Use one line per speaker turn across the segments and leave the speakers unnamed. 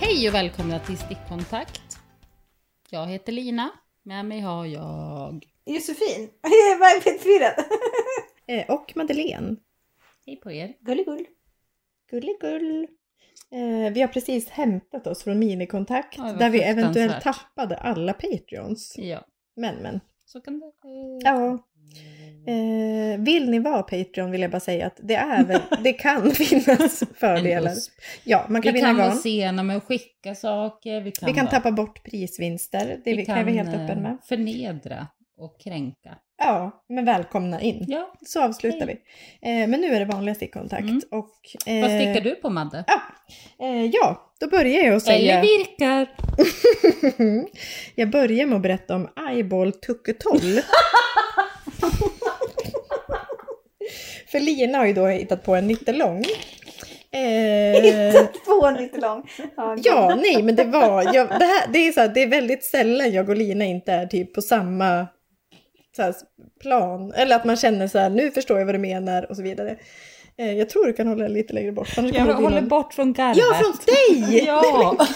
Hej och välkomna till Stickkontakt. Jag heter Lina. Med mig har jag...
Josefin. Jag är väldigt förvirrad.
Eh, Och Madeleine.
Hej på er.
Gulligull.
Gulligull. Eh, Vi har precis hämtat oss från minikontakt
Oj, vad
där vi eventuellt
fruktansvärt.
tappade alla Patreons.
Ja,
Men men.
så kan det... eh,
Ja. Eh, vill ni vara Patreon vill jag bara säga att det är väl, det kan finnas
en
fördelar.
husp.
Ja, man kan
Vi
vinna
kan
garn.
vara sena med att skicka saker. Vi kan,
Vi kan
vara-
tappa bort prisvinster, det vi kan jag vara helt
eh,
öppen med.
förnedra och kränka.
Ja, men välkomna in.
Ja.
Så avslutar vi. Eh, men nu är det vanliga stickkontakt.
Mm.
Och,
Vad
eh,
stickar du på Madde?
Ja, eh, ja då börjar jag och säga...
Eller virkar!
jag börjar med att berätta om Eyeball Tucketull. För Lina har ju då hittat på en nittelång. Eh,
Tvåan lite lång. Ja,
ja, nej, men det var... Jag, det, här, det, är så här, det är väldigt sällan jag och Lina inte är typ på samma så här, plan. Eller att man känner så här, nu förstår jag vad du menar och så vidare. Eh, jag tror du kan hålla lite längre bort. annars kommer
Jag
det bli
håller
någon-
bort från garvet.
Ja, från dig!
Ja, jag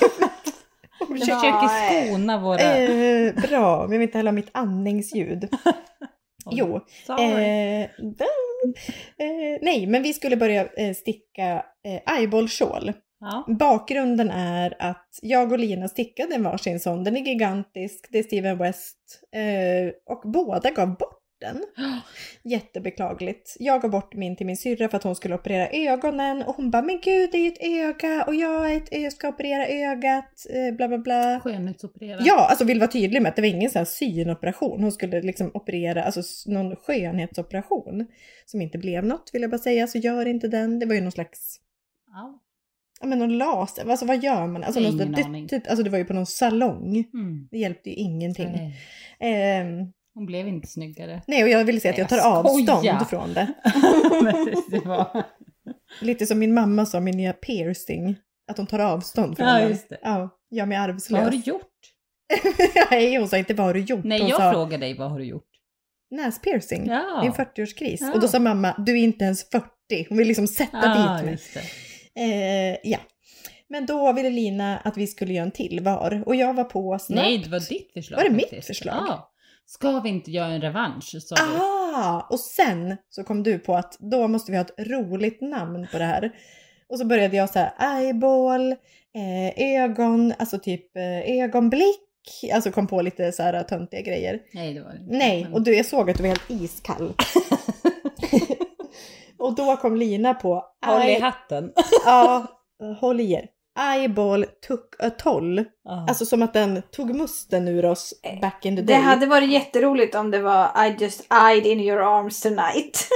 Ja,
försöker
eh.
skona våra...
Eh, bra, men jag vill inte heller ha mitt andningsljud. Jo,
Sorry.
Eh, da- eh, nej, men vi skulle börja eh, sticka eh, eyeball shawl.
Ja.
Bakgrunden är att jag och Lina stickade en varsin sån. Den är gigantisk, det är Steven West eh, och båda gav bort den. Jättebeklagligt. Jag gav bort min till min syrra för att hon skulle operera ögonen och hon bara men gud det är ju ett öga och jag, är ett, jag ska operera ögat, eh, bla bla bla.
Skönhetsoperera.
Ja, alltså vill vara tydlig med att det var ingen sån här synoperation. Hon skulle liksom operera, alltså s- någon skönhetsoperation som inte blev något vill jag bara säga. Så gör inte den. Det var ju någon slags,
Ja.
ja men någon laser, alltså vad gör man? Alltså, någon
Ingen
sån där
aning.
dytt- alltså det var ju på någon salong.
Mm.
Det hjälpte ju ingenting.
Nej.
Ehm,
Hon blev inte snyggare.
nej, och jag vill säga att
Nej,
jag tar
jag skojar.
avstånd från det.
Precis, det var...
Lite som min mamma sa, min nya piercing. Att hon tar avstånd från
Ja,
den.
just det.
Ja, jag
Vad
är
har
arvslös.
du gjort?
nej, hon sa inte vad har du gjort?
Nej,
hon
jag
sa
frågar dig vad har du gjort?
näspiercing.
Ja.
Det är en 40-årskris.
Ja.
Och då sa mamma, du är inte ens 40. Hon vill liksom sätta
ah,
dit mig.
just det.
Eh, ja. Men då ville Lina att vi skulle göra en till var. Och jag var på snabbt.
Nej, det var ditt förslag.
Var det mitt
faktiskt.
förslag?
Ja. Ska vi inte göra en revansch? Sa du.
Ah, och sen så kom du på att då måste vi ha ett roligt namn på det här. Och så började jag så här, eyeball, eh, ögon, alltså typ eh, ögonblick. Alltså kom på lite så här töntiga grejer.
Nej, det var Mm. det inte.
Nej,
Men-
och du, jag såg att du var helt iskall. och då kom Lina på...
Håll i
"Aj,
hatten.
Ja, håll i er. Eyeball took a toll.
Ah.
Alltså som att den tog musten ur oss back in the
Det
day.
hade varit jätteroligt om det var I just eyed in your arms tonight.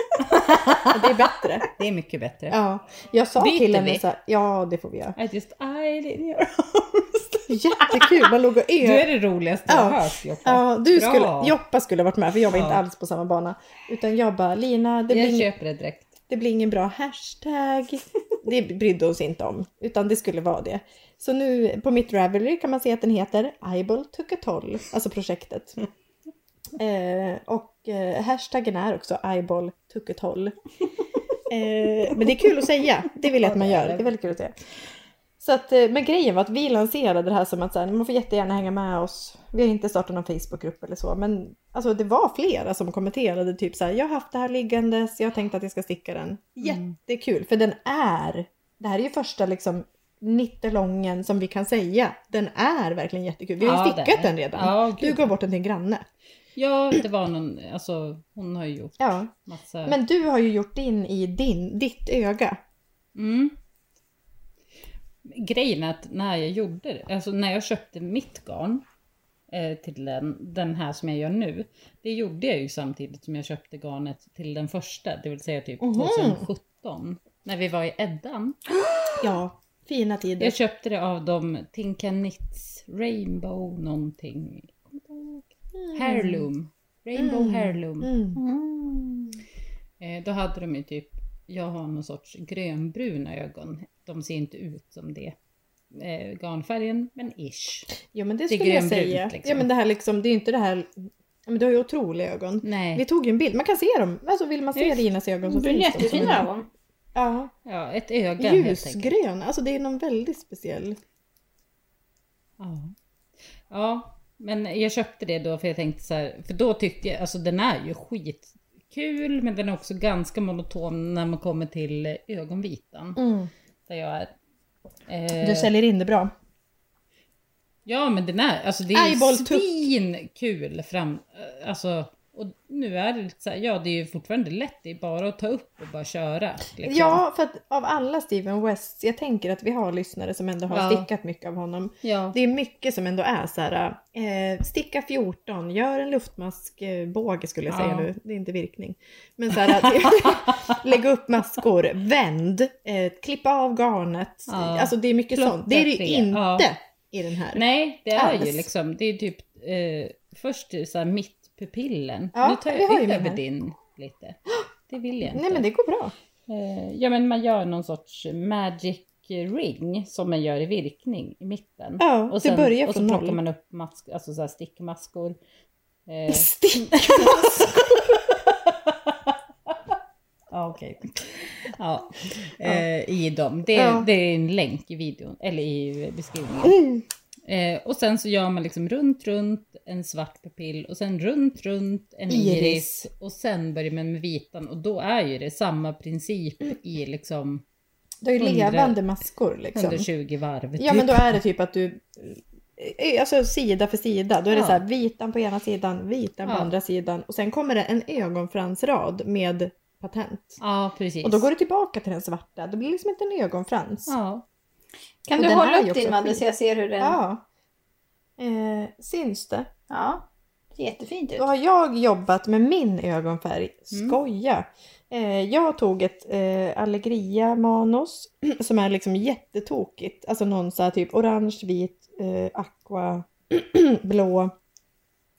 Det är bättre.
det är mycket bättre.
Ja, jag sa
Byter
till
vi?
henne så här, ja det får vi göra.
I just eyed in your
Jättekul, man låg och
Du är
ö.
det roligaste jag
Ja.
har hört Joppa.
Ja, du
Bra.
skulle, Joppa skulle ha varit med för jag var
Ja.
inte alls på samma bana. Utan jag bara, Lina det
jag
blir, ingen,
köper det direkt.
det blir ingen bra hashtag. Det brydde oss inte om, utan det skulle vara det. Så nu på mitt Ravelry kan man se att den heter Eyeball took a toll, alltså projektet. Eh, och eh, hashtaggen är också eyeball took a toll. Eh, men det är kul att säga, det vill jag att man gör. Det är väldigt kul att säga. Så att, eh, men grejen var att vi lanserade det här som att så här, man får jättegärna hänga med oss. Vi har inte startat någon Facebookgrupp eller så, men alltså, det var flera som kommenterade typ så här, jag har haft det här liggandes, jag har tänkt att jag ska sticka den.
Mm.
Jättekul, för den är, det här är ju första liksom nittelången som vi kan säga, den är verkligen jättekul. Vi har ju
Ja, det
stickat
är.
den redan.
Ja,
Du
gud.
gav bort den till en granne.
Ja, det var någon, alltså hon har ju gjort
Ja.
massa...
Men du har ju gjort in i din, ditt öga.
Mm. Grejen är att när jag gjorde det, alltså när jag köpte mitt garn eh, till den, den här som jag gör nu. Det gjorde jag ju samtidigt som jag köpte garnet till den första, det vill säga typ
Mhm.
2017. När vi var i Eddan.
Ja, fina tider.
Jag köpte det av dem Tinkanits Rainbow någonting.
Mm.
Hairloom. Rainbow
Mm.
Hairloom.
Mm.
Eh, då hade de ju typ, jag har någon sorts grönbruna ögon. De ser inte ut som det. Eh, garnfärgen, men ish.
Jo men det
Det är
skulle jag
grönbrunt,
säga.
liksom.
Ja men det här liksom, det är ju inte det här, ja, men du har ju otroliga ögon. Vi
Nej.
tog ju en bild, man kan se dem. Alltså vill man se
Just.
Linas ögon så
Du är
finns de. som
jättefina
en-
ögon.
Ja,
Ja, ett öga helt enkelt.
ljusgrön. Alltså det är någon väldigt speciell.
Ja. ja, men jag köpte det då för jag tänkte så här, för då tyckte jag, alltså den är ju skitkul men den är också ganska monoton när man kommer till ögonvitan där jag är. Eh,
Du säljer in det bra.
Ja men den är, alltså det är ju
Eyeball tuck.
svinkul fram, eh, alltså och nu är det lite så här, ja det är ju fortfarande lätt, det är bara att ta upp och bara köra. liksom.
Ja, för att av alla Steven Wests, jag tänker att vi har lyssnare som ändå har
Ja.
stickat mycket av honom.
ja.
Det är mycket som ändå är så här, eh, sticka 14, gör en luftmaskbåge skulle jag säga
Ja.
nu, det är inte virkning. Men så här, att- lägg upp maskor, vänd, eh, klippa av garnet.
Ja.
Alltså det är mycket
Plocka
sånt. Det är det ju
tre.
inte
Ja.
i den här.
Nej, det är ju
Alls.
liksom, det är typ eh, först så här mitt pupillen.
Ja,
nu tar
vi har
jag
ju
ut
med
över
här.
din lite. Det vill jag inte.
Nej men det går bra.
Eh, ja men man gör någon sorts magic ring som man gör i virkning i mitten.
Ja,
och sen,
det börjar
och så
från
plockar
noll.
man upp mask, alltså så här stickmaskor. Eh,
Stickmaskor!
ja okej. Ja, eh, i dem. Det,
Ja.
det är en länk i videon, eller i beskrivningen.
Mm.
Eh, och sen så gör man liksom runt, runt en svart pupill och sen runt, runt en iris.
Iris.
och sen börjar man med vitan och då är ju det samma princip i liksom
Du har ju
Hundra-
levande maskor liksom.
120 varv.
Ja
typ.
men då är det typ att du, eh, alltså sida för sida, då är det
Ja.
så här vitan på ena sidan, vitan på
Ja.
andra sidan och sen kommer det en ögonfransrad med patent.
Ja, precis.
Och då går det tillbaka till den svarta, det blir liksom inte en ögonfrans.
Ja.
Kan
Och
du
den
hålla
är ju
upp din
också
Madde
fin.
så jag ser hur den... Ja.
Ja. Eh, syns det?
Det ser jättefint ut.
Då har jag jobbat med min ögonfärg.
Mm.
Skoja! Eh, jag tog ett eh, Allegria Manos som är liksom jättetokigt. Alltså någon så här typ orange, vit, eh, aqua, blå.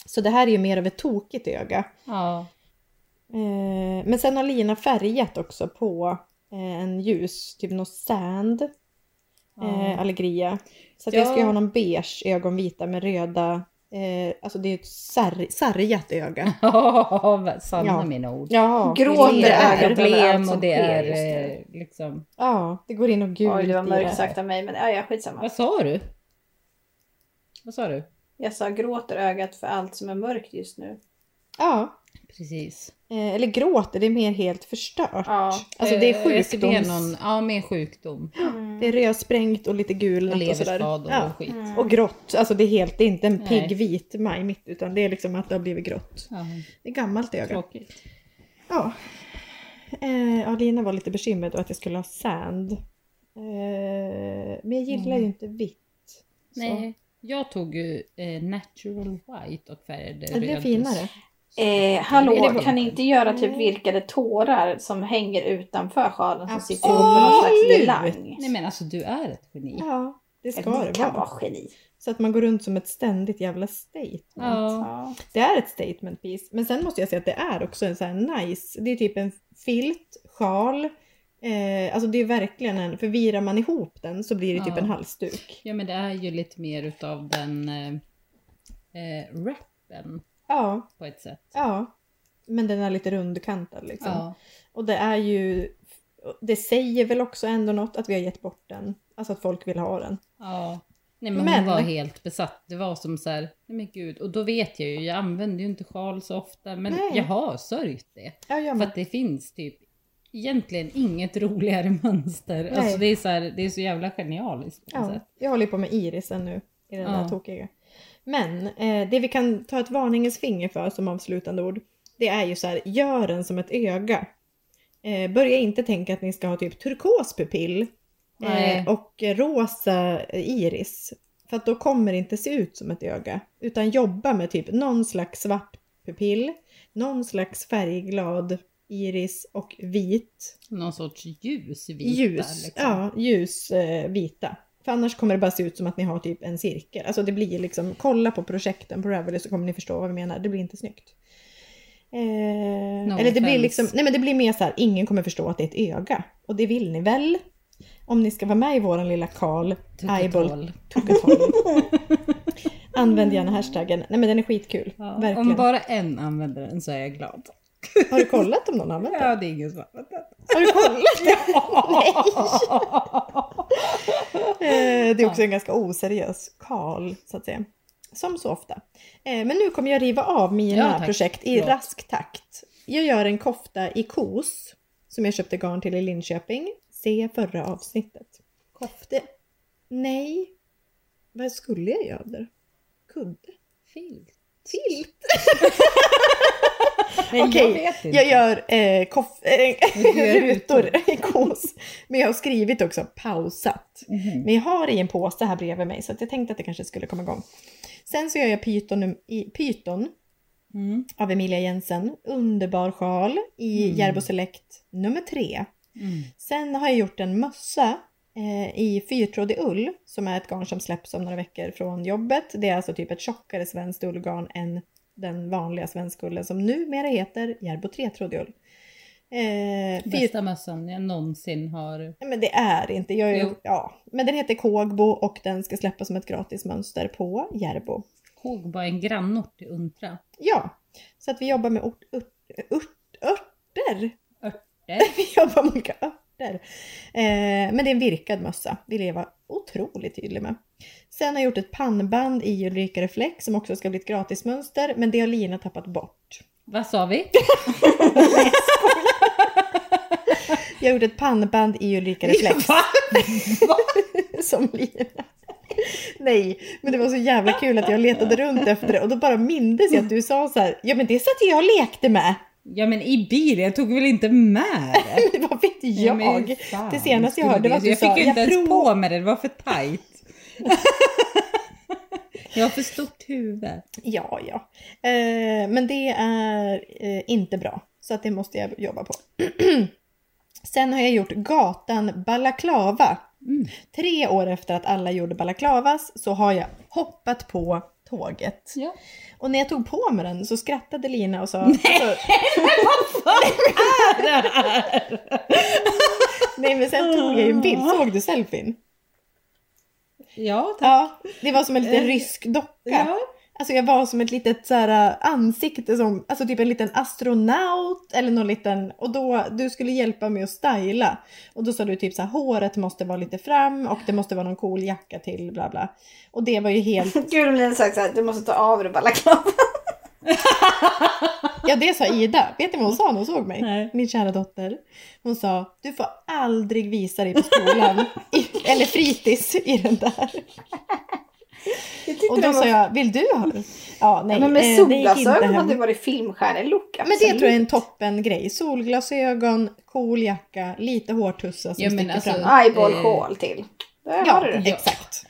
Så det här är ju mer av ett tokigt öga.
ja.
Eh, men sen har Lina färgat också på eh, en ljus, typ någon sand,
Ja.
eh, Allegria. Så att
Ja.
jag ska ju ha någon beige ögonvita med röda, eh, alltså det är ett sarg- sargat öga.
Ja, sanna
Ja.
mina ord.
Ja,
Gråter
det
det är
ögat.
är.
problem och
som
det
sker
är
just nu.
eh, liksom...
Ja, det går in och gult
Oj, det var
i
mörkt
det.
sagt av mig, men ja, ja, skitsamma.
Vad sa du? Vad sa du?
Jag sa gråter ögat för allt som är mörkt just nu.
Ja,
Precis.
eh, eller gråter, det är mer helt förstört.
Ja.
Alltså det
Eh,
är
jag ser det
sjukdoms...
Någon, ja, med sjukdom.
Det är rödsprängt och lite gulnat och sådär.
Leverskador och
Ja.
skit.
Mm.
Och grått, alltså det är helt, det är inte en
Nej.
pigg vit maj mitt utan det är liksom att det har blivit grått.
Ja,
Det är gammalt öga.
tråkigt.
Ja. Eh, ja, Lina var lite bekymrad över att jag skulle ha sand. Eh, men jag gillar
Mm.
ju inte vitt. Så.
Nej, jag tog ju eh, natural white och färgade
Det blir finare.
Eh, hallå,
Är det-
kan ni inte göra typ
Nej.
virkade tårar som hänger utanför sjalen som sitter ihop med någon slags
Absolut.
girlang?
Nej men alltså du är ett geni.
Ja, det ska
Ni
det
kan
vara.
vara geni.
Så att man går runt som ett ständigt jävla statement.
Ja.
Ja.
Det är ett statement piece. Men sen måste jag säga att det är också en sån här nice, det är typ en filt, sjal. Eh, alltså det är verkligen en, för virar man ihop den så blir det typ
Ja.
en halsduk.
ja men det är ju lite mer utav den eh, eh, rappen
Ja,
på ett sätt.
ja. Men den är lite rundkantad liksom.
Ja.
Och det är ju, det säger väl också ändå något att vi har gett bort den. Alltså att folk vill ha den.
ja. Nej men,
Men-
hon var helt besatt. Det var som så här, nej men gud. Och då vet jag ju, jag använder ju inte sjal så ofta men
Nej.
jag har sörjt det.
Ja, ja,
För
men,
att det finns typ egentligen inget roligare mönster.
Nej.
Alltså det är så, här, det är så jävla genialiskt på något
ja.
sätt.
Jag håller ju på med irisen nu i den
Ja.
där tokiga. Men eh, det vi kan ta ett varningens finger för som avslutande ord, det är ju så här, gör den som ett öga. Eh, börja inte tänka att ni ska ha typ turkos pupill
Nej.
eh, och rosa eh, iris. För att då kommer det inte se ut som ett öga. Utan jobba med typ någon slags svart pupill, någon slags färgglad iris och vit
Någon sorts ljus vita,
ljus,
liksom.
ja, ljus eh, vita. För annars kommer det bara se ut som att ni har typ en cirkel. Alltså det blir liksom, kolla på projekten på Ravelry så kommer ni förstå vad vi menar. Det blir inte snyggt. Eh, eller det blir
offense.
liksom, nej men det blir mer så här, ingen kommer förstå att det är ett öga. Och det vill ni väl? Om ni ska vara med i våran lilla Karl Eyeball
Tucketål.
Tucketall. Använd gärna hashtaggen. Nej men den är skitkul.
Ja,
Verkligen.
om bara en använder den så är jag glad.
Har du kollat om någon använt den?
Ja, det är ingen som har använt den.
Har du kollat? Nej! Eh, det är också en ganska oseriös karl så att säga. Som så ofta. Eh, men nu kommer jag riva av
Ja,
mina
tack.
projekt i
Förlåt.
rask takt. Jag gör en kofta i kos som jag köpte garn till i Linköping. Se förra avsnittet. Kofte? Nej. Vad skulle jag göra där? Kudde?
Filt.
Filt?
Nej,
Okej,
jag vet inte.
Jag gör eh, koff-
Du gör
eh,
rutor.
rutor i kos. Men jag har skrivit också pausat.
Mhm.
Men jag har i en påse här bredvid mig så att jag tänkte att det kanske skulle komma igång. Sen så gör jag pyton, i, pyton
Mm.
av Emilia Jensen, underbar sjal i
Mm.
Järbo Select nummer tre.
Mm.
Sen har jag gjort en mössa eh, i fyrtrådig ull som är ett garn som släpps om några veckor från jobbet. Det är alltså typ ett tjockare svenskt ullgarn än den vanliga svenska ullen som numera heter Järbo tretrådig ull. Eh, fyr-
Bästa mössan jag någonsin har.
Nej, men det är inte. Jag är,
Jo.
ja. Men den heter Kågbo och den ska släppas som ett gratis mönster på Järbo.
Ihåg bara en grannort till Untra.
Ja, så att vi jobbar med ort, urt, urt, örter.
Där.
Vi jobbar med olika örter. Eh, men det är en virkad mössa, vill jag vara otroligt tydlig med. Sen har jag gjort ett pannband i Ulrika Reflex som också ska bli ett gratismönster, men det har Lina tappat bort.
Vad sa vi?
Jag har gjort ett pannband i Ulrika Reflex.
Va?
som Lina. Nej, men det var så jävla kul att jag letade runt efter det och då bara mindes jag att du sa så här, ja men det satt jag och lekte med.
Ja men i bil, jag tog väl inte med det?
Men Vad vet
Ja, men
jag?
fan,
Det senaste jag
skulle
hörde
det-
var att du
Jag
sa,
fick ju inte
jag
ens
provar.
på med det, det var för tajt. jag har för stort huvud.
Ja, ja. Eh, men det är eh, inte bra, så att det måste jag jobba på. Sen har jag gjort gatan balaklava.
Mm.
Tre år efter att alla gjorde balaklavas så har jag hoppat på tåget.
Ja.
Och när jag tog på mig den så skrattade Lina och sa... alltså- Nej, Nej men sen tog jag ju en bild, såg du selfien?
Ja, tack.
Ja, det var som en liten rysk docka.
Eh, Ja.
Alltså jag var som ett litet så här, äh, ansikte som, alltså typ en liten astronaut eller någon liten, och då, du skulle hjälpa mig att styla. Och då sa du typ så här, håret måste vara lite fram och det måste vara någon cool jacka till bla bla. Och det var ju helt,
Gud om Lina sagt såhär, du måste ta av dig balaklavan.
ja det sa Ida, vet ni vad hon sa när hon såg mig?
Nej.
Min kära dotter. Hon sa, du får aldrig visa dig på skolan, i, eller fritids i den där.
Jag tyckte
Och
det
då
var...
sa jag, vill du ha det? Ja, nej.
men
eh, det
med
gick
solglasögon
inte hem.
hade det varit filmstjärnelook.
Men det tror jag är en
absolut.
toppen grej. Solglasögon, cool jacka, lite hårtussar som
Ja, men
sticker
alltså-
fram.
Eyeball
Eh,
hall till. Där har
Ja,
du det.
exakt.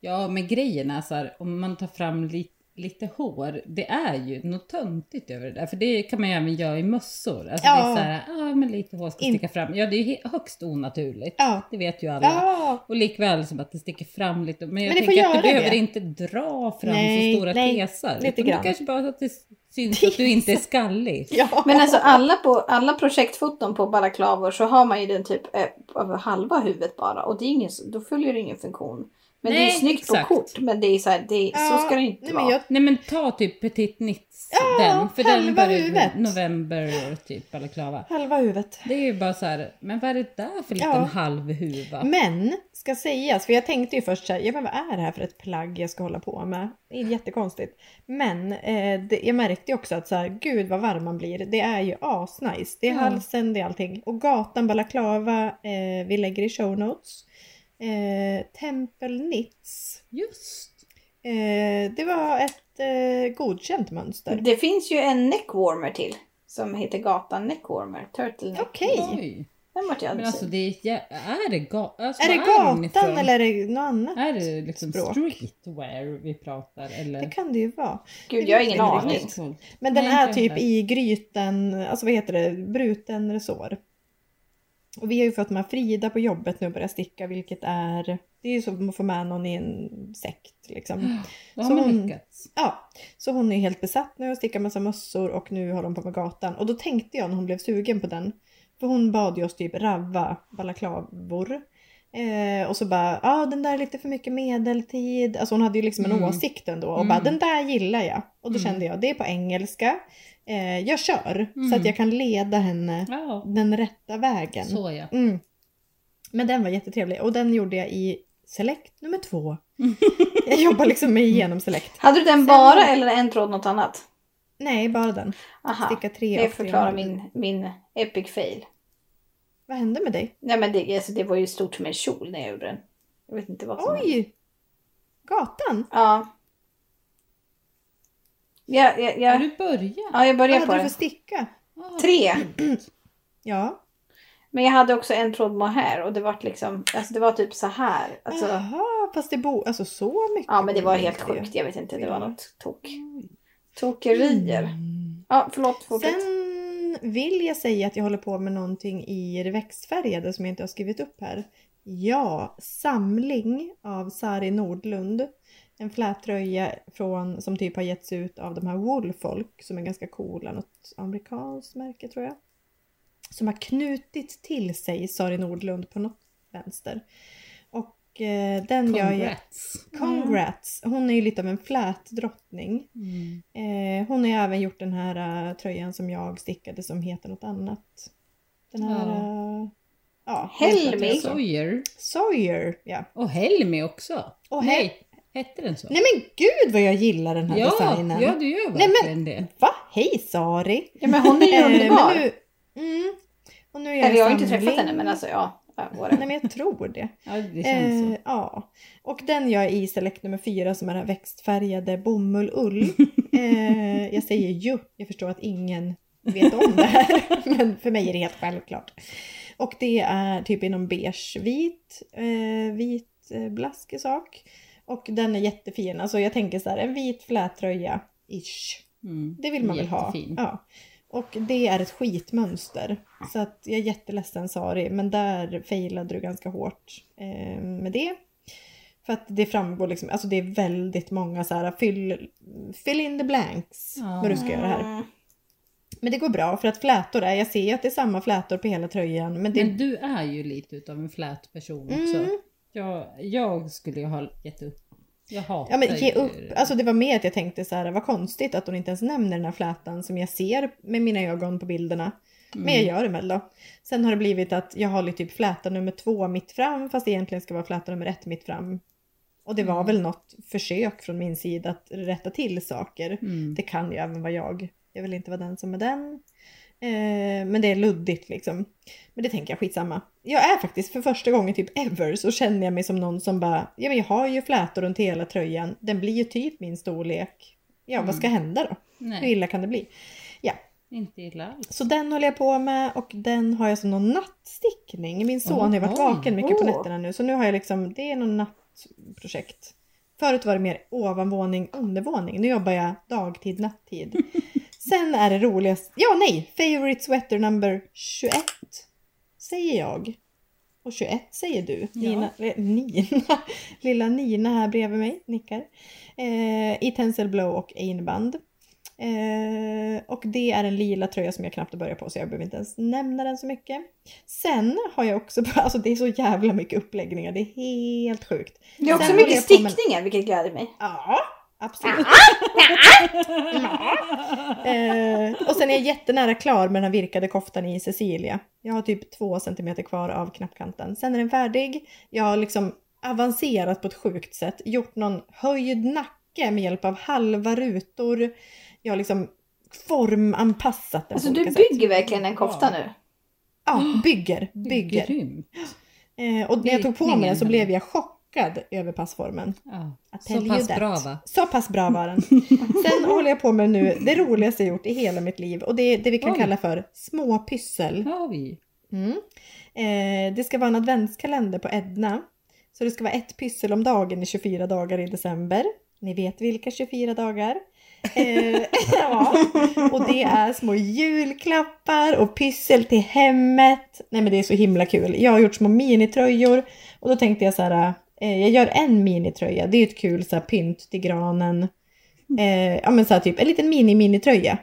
Ja, men grejen är så här, om man tar fram lite, lite hår, det är ju något töntigt över det där. För det kan man ju även göra i mössor. Alltså det är
Ja.
så här, ja men lite hår ska
In-
sticka fram. Ja, det är ju he- högst onaturligt.
Ja.
Det vet ju alla.
ja.
Och likväl som att det sticker fram lite. Men jag
Men det får
tänker att du
göra
behöver
det.
inte dra fram
Nej,
så stora
nej,
tesar.
lite
utan
grann.
Du kanske bara att det syns att du inte är skallig.
ja.
Men alltså alla, på, alla projektfoton på balaklavor så har man ju den typ eh, över halva huvudet bara och det är ingen, då följer det ingen funktion. Men det är
Nej,
ju snyggt
exakt.
på kort men det är så här, det är, så ska det inte
nej,
vara.
men jag,
Nej men ta typ Petit Nits,
Ja,
den. För den
halva
var ju
huvudet.
november typ, balaclava.
halva huvudet.
Det är ju bara så här, men vad är det där för liten
Ja. Mm.
halvhuva?
Men, ska sägas, för jag tänkte ju först så här, ja men vad är det här för ett plagg jag ska hålla på med? Det är jättekonstigt. Men eh, det, jag märkte ju också att så här, gud vad varm man blir. Det är ju asnice. Det är
Ja.
halsen, det är allting. Och gatan balaklava, eh, vi lägger i show notes. Eh, Temple Knits.
Just.
Eh, det var ett eh, godkänt mönster.
Det finns ju en neckwarmer till som heter gatan neckwarmer, turtleneck.
Okej.
Oj.
Den vart jag
Men
alldeles
alltså det är, jä- är det, ga- alltså,
Är det
vad den
gatan
ifrån?
eller är det något annat?
Är det liksom
språk?
streetwear vi pratar eller?
Det kan det ju vara.
Gud jag har
det
ingen
är
aning.
riktigt.
Coolt.
Men
Nej,
den är
inte
typ
heller.
i gryten, alltså vad heter det, bruten resår. Och vi har ju fått med Frida på jobbet nu och börjar sticka vilket är, det är ju som att få med någon i en sekt liksom.
Då har
Som
man
hon-
lyckats.
Ja, så hon är helt besatt nu och stickar massa mössor och nu håller hon på med gatan. Och då tänkte jag när hon blev sugen på den, för hon bad ju oss typ ravva balaklavor. Eh, och så bara, ja ah, den där är lite för mycket medeltid. Alltså hon hade ju liksom en
Mm.
åsikt ändå och
Mm.
bara den där gillar jag. Och då
Mm.
kände jag, det är på engelska. Eh, jag kör
Mm.
så att jag kan leda henne
Ja,
den rätta vägen.
så ja.
Mm. Men den var jättetrevlig och den gjorde jag i Select nummer två. jag jobbar liksom
Mm.
mig igenom Select.
Hade du den bara eller en tråd något annat?
Nej, bara den.
Aha,
Sticka tre
det
och tre
förklarar
och-
min, min epic fail.
Vad hände med dig?
Nej men det, alltså, det var ju stort som en kjol när jag gjorde den. Jag vet inte vad som hände.
Oj! Gatan?
Ja. Ja, ja,
Har
ja.
du börjat?
ja jag
Vad
började på
hade du för
den.
sticka?
Ah,
Tre.
Ja.
Men jag hade också en tråd mohair och det var liksom, alltså det var typ så här. Alltså,
Jaha, fast det bo... Alltså så mycket.
ja men det var helt
borde det
sjukt, jag vet inte, det var
Ja.
något tok.
Oj.
Tokerier.
Mm.
Ja, förlåt, fortsätt.
Sen vill jag säga att jag håller på med någonting i det växtfärgade som jag inte har skrivit upp här. Ja, Samling av Sari Nordlund. En flättröja från, som typ har getts ut av de här Woolfolk som är ganska coola, något amerikanskt märke tror jag. Som har knutit till sig Sari Nordlund på något vänster. Och eh, den gör jag...
Congrats.
Congrats! Hon är ju lite av en flätdrottning.
Mm.
Eh, hon har ju även gjort den här eh, tröjan som jag stickade som heter något annat. Den här...
Ja.
eh, ja,
Helmi.
heter den så.
Sawyer.
Sawyer, ja.
Och Helmi också.
Och Hel-
Nej, hette den så?
Nej men gud vad jag gillar den här
ja,
designen.
ja, du gör
Nej, men-
verkligen det.
Va? Hej Sari!
Ja, men hon är ju
Eh, men
underbar.
nu- Mm, och nu är
Eller jag har ju inte
samling.
träffat henne men alltså ja. ja,
Nej
whatever.
men jag tror det.
Ja, det känns så.
Eh, ja. Och den gör jag i Select nummer fyra som är den här växtfärgade bomull-ull. eh, jag säger ju, jag förstår att ingen vet om det här. men för mig är det helt självklart. Och det är typ i någon beige-vit, eh, vit eh, blaskig sak. Och den är jättefin. Alltså jag tänker så här, en vit flättröja, ish.
Mm.
Eh, Det vill man
Jättefin.
väl ha. Ja. Och det är ett skitmönster. Så att jag är jätteledsen Sari, men där failade du ganska hårt eh, med det. För att det framgår liksom, alltså det är väldigt många så här fyll, fill in the blanks
Ja.
vad du ska göra här.
Mm.
Men det går bra för att flätor är, jag ser ju att det är samma flätor på hela tröjan. Men det,
Men du är ju lite utav en flät person också.
Mm.
Jag, jag skulle ju ha gett upp. Jag hatar
Ja men ge
ju-
upp. Alltså det var mer att jag tänkte så här, vad konstigt att hon inte ens nämner den här flätan som jag ser med mina ögon på bilderna.
Mm.
Men jag gör det väl då. Sen har det blivit att jag har lite typ fläta nummer två mitt fram fast det egentligen ska vara fläta nummer ett mitt fram. Och det var
Mm.
väl något försök från min sida att rätta till saker.
Mm.
Det kan ju även vara jag. Jag vill inte vara den som är den. Eh, men det är luddigt liksom. Men det tänker jag skitsamma. Jag är faktiskt för första gången typ ever så känner jag mig som någon som bara, ja men jag har ju flätor runt hela tröjan. Den blir ju typ min storlek. Ja
Mm.
vad ska hända då? Hur
Nej,
illa kan det bli?
inte illa alls.
Så den håller jag på med och den har jag som någon nattstickning. Min son har ju varit
Oj.
vaken mycket på
Åh.
nätterna nu så nu har jag liksom, det är någon nattprojekt. Förut var det mer ovanvåning, undervåning. Nu jobbar jag dagtid, nattid. Sen är det roligast, ja nej, favorite sweater number 21 säger jag. Och 21 säger du.
Ja.
Nina, eh, Nina, lilla Nina här bredvid mig nickar. Eh, I Tencel Blow och Einband. Eh, och det är en lila tröja som jag knappt har börjat på så jag behöver inte ens nämna den så mycket. Sen har jag också, alltså det är så jävla mycket uppläggningar, det är helt sjukt.
Det är också
Sen
mycket
håller jag på med-
stickningar vilket gläder mig.
Ja, absolut. eh, och sen är jag jättenära klar med den här virkade koftan i Cecilia. Jag har typ två centimeter kvar av knappkanten. Sen är den färdig. Jag har liksom avancerat på ett sjukt sätt. Gjort någon höjd nacke med hjälp av halva rutor. Jag har liksom formanpassat den
Alltså
på
du
olika sätt.
bygger verkligen en kofta nu.
Ja, bygger, bygger.
Grymt.
Eh, och när jag tog på mig den så
Virkningen.
blev jag chockad över passformen.
Ja.
Atelier
Så pass
Dett.
bra va?
Så pass bra var den. Sen håller jag på med nu det roligaste jag gjort i hela mitt liv och det är det vi kan
Oj.
kalla för småpyssel.
Har vi.
Mm. Eh, det ska vara en adventskalender på Edna. Så det ska vara ett pyssel om dagen i 24 dagar i december. Ni vet vilka 24 dagar. Eh, ja. Och det är små julklappar och pyssel till hemmet. Nej men det är så himla kul. Jag har gjort små minitröjor och då tänkte jag så här, eh, jag gör en minitröja. Det är ju ett kul så här, pynt till granen. Eh, ja men så här, typ en liten mini-minitröja.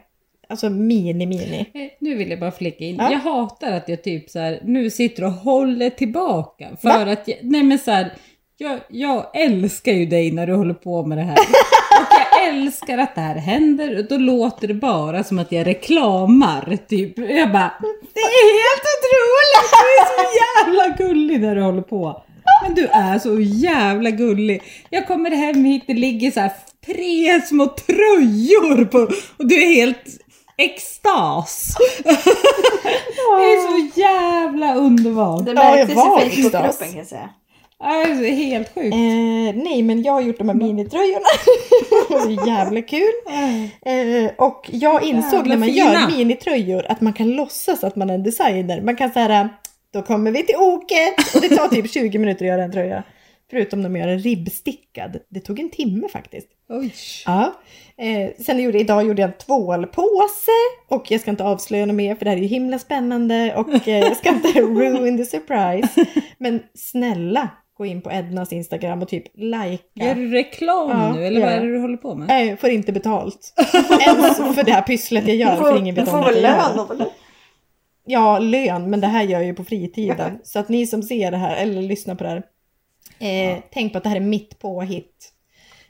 Alltså mini-mini.
Eh, Nu vill jag bara flika in.
Ja.
Jag hatar att jag typ så här, nu sitter och håller tillbaka. För att jag, nej men så här, jag, jag älskar ju dig när du håller på med det här. Och jag älskar att det här händer och då låter det bara som att jag reklamar. Typ. Jag bara, det är helt otroligt! Du är så jävla gullig när du håller på. Men du är så jävla gullig. Jag kommer hem hit, det ligger så här tre små tröjor på och du är helt extas. Det är så jävla underbart.
Det
Ja, jag
märktes
var
i
extas.
Facebookgruppen kan jag säga.
Alltså, helt sjukt.
Eh, nej, men jag har gjort de här minitröjorna. Det var så jävla kul. Eh, och jag insåg
Jävla
när man
fina.
gör minitröjor att man kan låtsas att man är en designer. Man kan säga då kommer vi till oket och det tar typ 20 minuter att göra en tröja. Förutom när man gör en ribbstickad. Det tog en timme faktiskt.
Oj.
Ja. Eh, sen gjorde, idag gjorde jag en tvålpåse och jag ska inte avslöja något mer för det här är ju himla spännande och eh, jag ska inte ruin the surprise. Men snälla gå in på Ednas Instagram och typ
Gör
likea.
du reklam
Ja,
nu eller vad
ja. Eh.
är det du håller på med?
Jag får inte betalt. Ens för det här pysslet jag gör.
Du
Får, ingen
får, du får
betalt
väl
jag gör.
lön då eller?
Ja, lön, men det här gör jag ju på fritiden. Så att ni som ser det här eller lyssnar på det här, eh, tänk på att det här är mitt påhitt.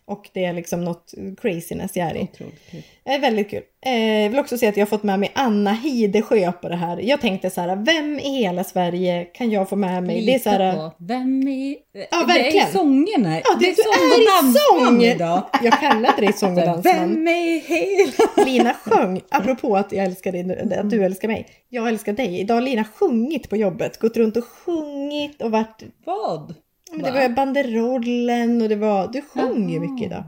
Och det är liksom något craziness jag är i.
Otroligt kul.
Det är väldigt kul. Eh, jag vill också säga att jag har fått med mig Anna Hidesjö på det här. Jag tänkte så här, vem i hela Sverige kan jag få med mig? Det är så här,
på vem i...
Ja, verkligen.
Det är sången här.
Ja, det- du
sång
är i
och dansband
sång.
idag.
jag kallade dig sång och dansman.
Vem i hela...
Lina sjöng, apropå att jag älskar dig, nu-
Mm.
att du älskar mig. Jag älskar dig. Idag har Lina sjungit på jobbet, gått runt och sjungit och varit,
Vad?
men det
Va?
var banderollen och det var, du sjöng ju
Jaha.
mycket idag.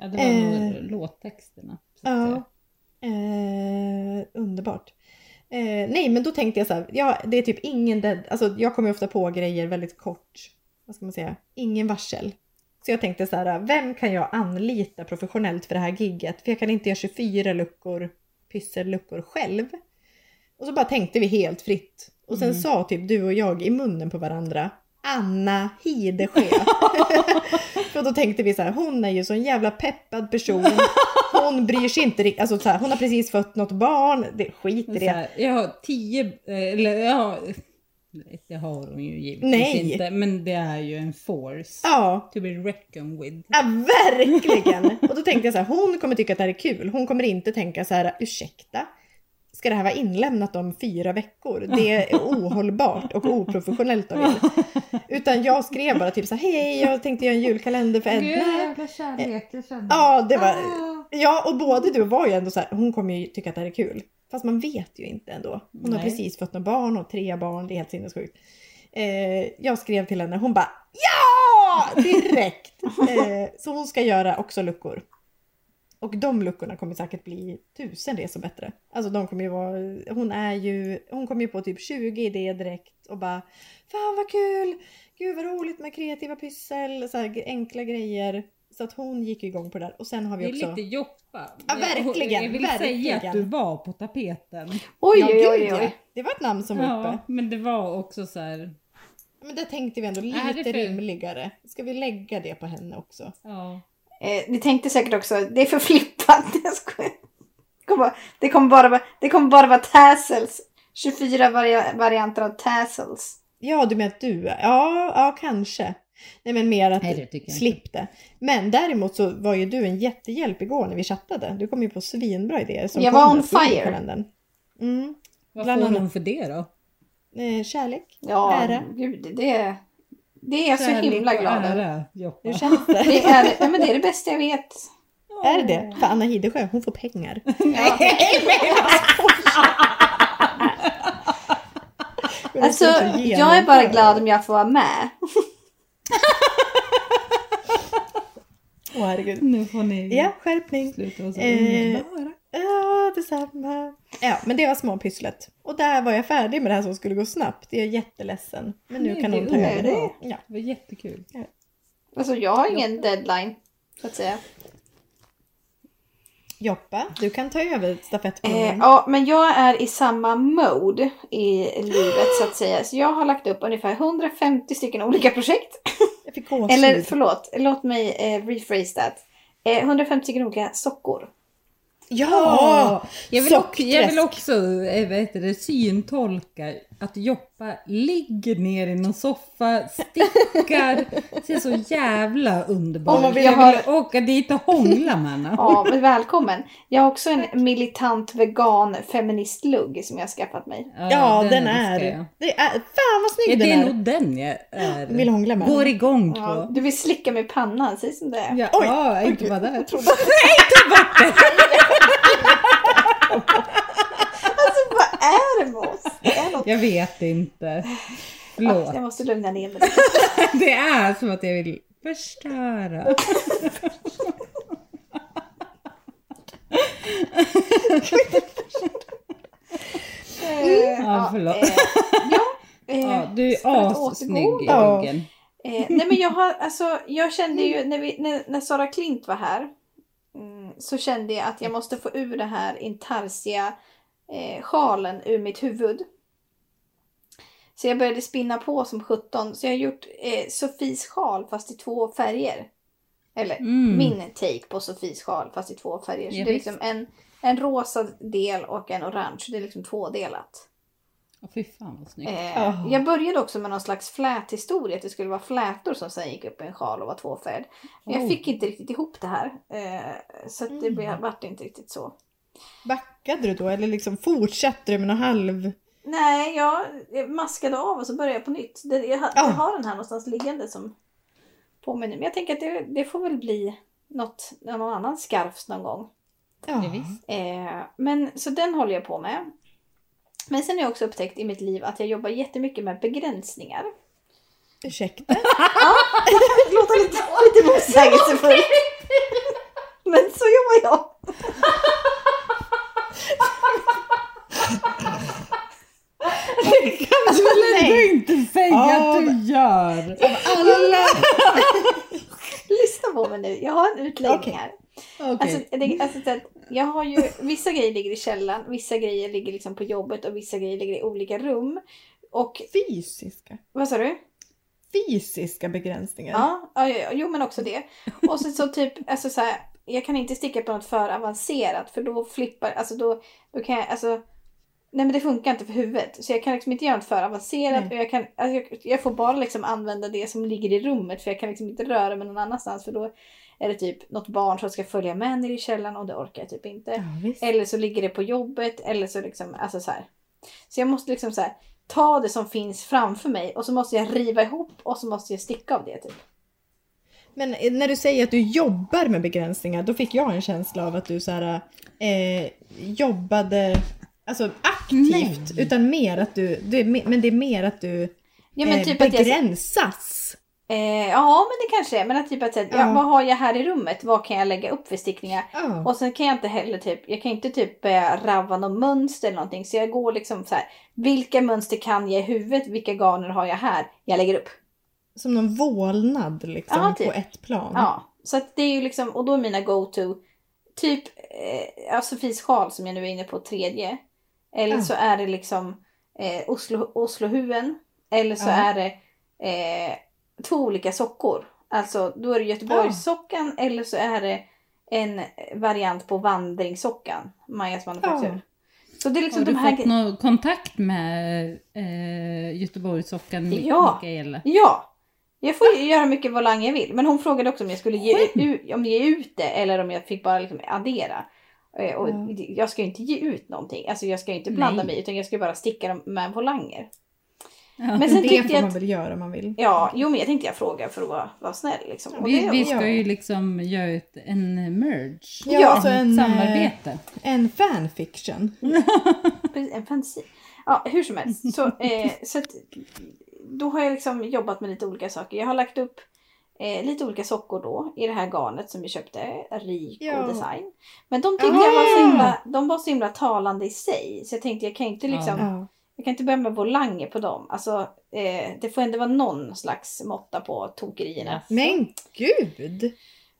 Ja, det var
Eh.
nog låttexterna. så att
Ja.
säga.
Eh, underbart. Eh, nej, men då tänkte jag så här. Ja, det är typ ingen dead, alltså jag kommer ju ofta på grejer väldigt kort. Vad ska man säga? Ingen varsel. Så jag tänkte så här, vem kan jag anlita professionellt för det här gigget? För jag kan inte göra 24 luckor, pysselluckor själv. Och så bara tänkte vi helt fritt. Och sen
Mm.
sa typ du och jag i munnen på varandra, Anna Hidesjö. För då tänkte vi så här, hon är ju så en jävla peppad person. Hon bryr sig inte riktigt, alltså så här, hon har precis fött något barn, det skit i
Men så
det.
här, jag har tio... eh, Eller jag har... Nej, Det har hon ju givetvis
Nej.
inte. Men det är ju en force.
Ja,
To be reckoned with.
ja, verkligen! Och då tänkte jag så här, hon kommer tycka att det här är kul. Hon kommer inte tänka så här, ursäkta, ska det här vara inlämnat om fyra veckor? Det är ohållbart och oprofessionellt av er. Utan jag skrev bara typ så här, hej, jag tänkte göra en julkalender för
Gud,
Edna.
jävla kärlek jag känner.
Ja, det var...
Ah.
Ja, och både du och var ju ändå så här, hon kommer ju tycka att det här är kul. Fast man vet ju inte ändå. Hon har
Nej.
precis fått några barn och tre barn, det är helt sinnessjukt. Eh, jag skrev till henne, hon bara ja! Direkt! Eh, så hon ska göra också luckor. Och de luckorna kommer säkert bli tusen resor bättre. Alltså de kommer ju vara, hon är ju, hon kommer ju på typ 20 idéer direkt och bara Fan vad kul! Gud vad roligt med kreativa pyssel, så här enkla grejer. Så att hon gick ju igång på det där. Och sen har
Det
vi
är
också...
lite Joppa.
Ja, verkligen,
Jag vill säga
verkligen.
att du var på tapeten.
Oj,
Ja,
oj,
gud,
oj,
ja.
oj.
Det var ett namn som var
Ja,
uppe.
men det var också så här.
Men där tänkte vi ändå
det är
lite
fint.
rimligare. Ska vi lägga det på henne också?
Ja.
Eh, ni tänkte säkert också, det är för flippat. Jag skojar. Det kommer bara- Det kommer bara, vara- det kommer bara vara tassels. 24 varia- varianter av tassels.
Ja, du menar att du? Ja, ja kanske. Nej men mer att
Nej, det tycker jag
slipp det. Men däremot så var ju du en jättehjälp igår när vi chattade. Du kom ju på svinbra idéer. Som
Jag var
kommer
on
i
fire.
kalendern. Mm.
Vad
Bland
får
annat.
hon för det då?
Eh, kärlek.
Ja,
Ära.
gud, det, det är jag så
Kärlek
himla
och
glad över.
ära, Joppa.
Hur känns det?
Det är, ja, men det är det bästa jag vet.
Är det det? För Anna Hidesjö, hon får pengar.
Ja. Alltså,
Det så
jag är bara
genomfört.
glad om jag får vara med.
Åh herregud.
Nu får ni
Ja, skärpning.
sluta vara så
Eh,
underbara.
Ja, detsamma. Ja, men det var småpusslet. Och där var jag färdig med det här som skulle gå snabbt. Jag är jätteledsen. Men nu
Nej,
kan
det
någon ta
är
över.
onödigt.
Ja.
Det var jättekul.
Alltså, jag har ingen deadline, så att säga.
Joppa, du kan ta över
Eh,
stafettpinnen.
ja, men jag är i samma mode i livet, så att säga. Så jag har lagt upp ungefär 150 stycken olika projekt.
jag fick gåshud.
Eller förlåt, låt mig eh, rephrase that. Eh, 150 stycken olika sockor.
Ja!
Jag vill, också,
Sockträsk.
jag vill också eh, vad heter det, syntolka att Joppa ligger ner i någon soffa, stickar, ser så jävla underbar
Om man vill-
Jag vill åka dit och hångla med henne.
Ja, men välkommen. Jag har också en militant vegan feministlugg som jag har skaffat mig.
Ja, den
älskar
är...
jag.
Det är... Fan vad
Ja,
snygg
det
den
är
är!
nog den jag är.
Vill hångla med
Går
den.
igång på.
Ja,
Ja,
du vill slicka mig i pannan, säg som det är.
ja,
Oj,
inte bara där.
Alltså vad är det med oss? Det är något...
Jag vet inte.
Ah,
Förlåt.
Jag måste lugna ner mig.
Det är som att jag vill förstöra.
Eh,
Ja, förlåt.
eh, ja, eh,
Ja, du är
för att
assnygg
återgå.
i
Ja.
ryggen.
Eh, nej men jag har, alltså jag kände ju när, vi, när, när Sara Klint var här mm, så kände jag att jag måste få ur det här intarsia eh, sjalen ur mitt huvud. Så jag började spinna på som 17 så jag har gjort eh, Sofies sjal fast i två färger. Eller
Mm.
min take på Sofies sjal fast i två färger. Så
Ja,
det är
visst.
liksom en, en rosa del och en orange. Så det är liksom tvådelat.
Åh, fy fan vad snyggt.
Eh,
Ah.
Jag började också med någon slags fläthistoria, att det skulle vara flätor som sen gick upp i en sjal och var tvåfärgad. Men jag
Oh.
fick inte riktigt ihop det här, eh, så att det
Mm.
blev, vart inte riktigt så.
Backade du då eller liksom fortsatte du med någon halv...
Nej, jag eh, maskade av och så började jag på nytt. Det, jag, ha-
Ah.
jag har den här någonstans liggande som påminner. Men jag tänker att det, det får väl bli något, någon annan skarvs någon gång.
Ja, visst.
Eh, men så den håller jag på med. Men sen har jag också upptäckt i mitt liv att jag jobbar jättemycket med begränsningar.
Ursäkta.
Det låter lite, lite motsägelsefullt. Men så jobbar jag.
Du vill
Nej.
ändå inte säga
Av-
att du gör.
Alla!
Lyssna på mig nu, jag har en utläggning
Okej.
här.
Okej.
Alltså, det, alltså, så att jag har ju, vissa grejer ligger i källaren, vissa grejer ligger liksom på jobbet och vissa grejer ligger i olika rum. Och
Fysiska.
vad sa du?
Fysiska begränsningar.
Ja, ja, ja, ja, jo men också det. Och sen så typ, alltså så här, jag kan inte sticka på något för avancerat för då flippar, alltså då, då kan jag, alltså Nej men det funkar inte för huvudet. Så jag kan liksom inte göra något för avancerat.
Nej.
Och jag, kan, alltså jag, jag får bara liksom använda det som ligger i rummet. För jag kan liksom inte röra mig någon annanstans. För då är det typ något barn som ska följa med ner i källaren och det orkar jag typ inte.
Ja, visst.
Eller så ligger det på jobbet. Eller så liksom, alltså så här. Så jag måste liksom så här, ta det som finns framför mig. Och så måste jag riva ihop och så måste jag sticka av det typ.
Men eh, när du säger att du jobbar med begränsningar, då fick jag en känsla av att du så här, eh, jobbade alltså, aktivt,
Nej.
utan mer att du, det är, me- men det är mer att du
Ja men
eh,
typ att jag...
begränsas.
Eh, ja men det kanske är. Men att typ att säga, ja.
Ja.
vad har jag här i rummet? Vad kan jag lägga upp för stickningar?
Ja.
Och sen kan jag inte heller typ, jag kan inte typ börja ravva något mönster eller någonting. Så jag går liksom så här, vilka mönster kan jag i huvudet? Vilka garner har jag här? Jag lägger upp.
Som någon vålnad liksom,
Ja, typ.
på ett plan.
Ja, så att det är ju liksom, och då är mina go-to typ eh, ja, Sofies sjal som jag nu är inne på tredje. Eller
Ja.
så är det liksom eh, Oslo, Oslohuen. Eller så
Ja.
är det eh, två olika sockor. Alltså då är det Göteborgssockan eller så är det en variant på vandringssockan. Majas manufaktur. Så det är liksom
Har du
de här
fått någon kontakt med eh, Göteborgssockan Mi-
Ja.
Mikaela?
Ja! Jag får ju göra mycket volang jag vill. Men hon frågade också om jag skulle ge, u, om ge ut det eller om jag fick bara liksom addera. Eh, Och
Ja.
det- Jag ska ju inte ge ut någonting. Alltså jag ska ju inte blanda
Nej.
mig utan jag ska ju bara sticka dem med volanger.
Ja.
Men
Men
sen
sen det
tyckte
får
jag
man
att...
väl göra om man vill.
Ja, jo men jag tänkte jag frågar för att vara, vara snäll liksom. Och
Vi,
det-
vi
och-
ska ju liksom göra ett, en merge.
Ja,
Ja,
alltså
ett
en, eh,
samarbete.
en fanfiction.
Precis, en fantasi. Ja, hur som helst. Så, eh, så att, då har jag liksom jobbat med lite olika saker. Jag har lagt upp eh, lite olika sockor då i det här garnet som vi köpte, Rico
Ja.
Design. Men de tyckte jag var så himla, de var så himla talande i sig. Så jag tänkte jag kan inte liksom,
Ja.
jag kan inte börja med volanger på dem. Alltså, eh, det får ändå vara någon slags måtta på tokerierna.
Men gud!
Eh,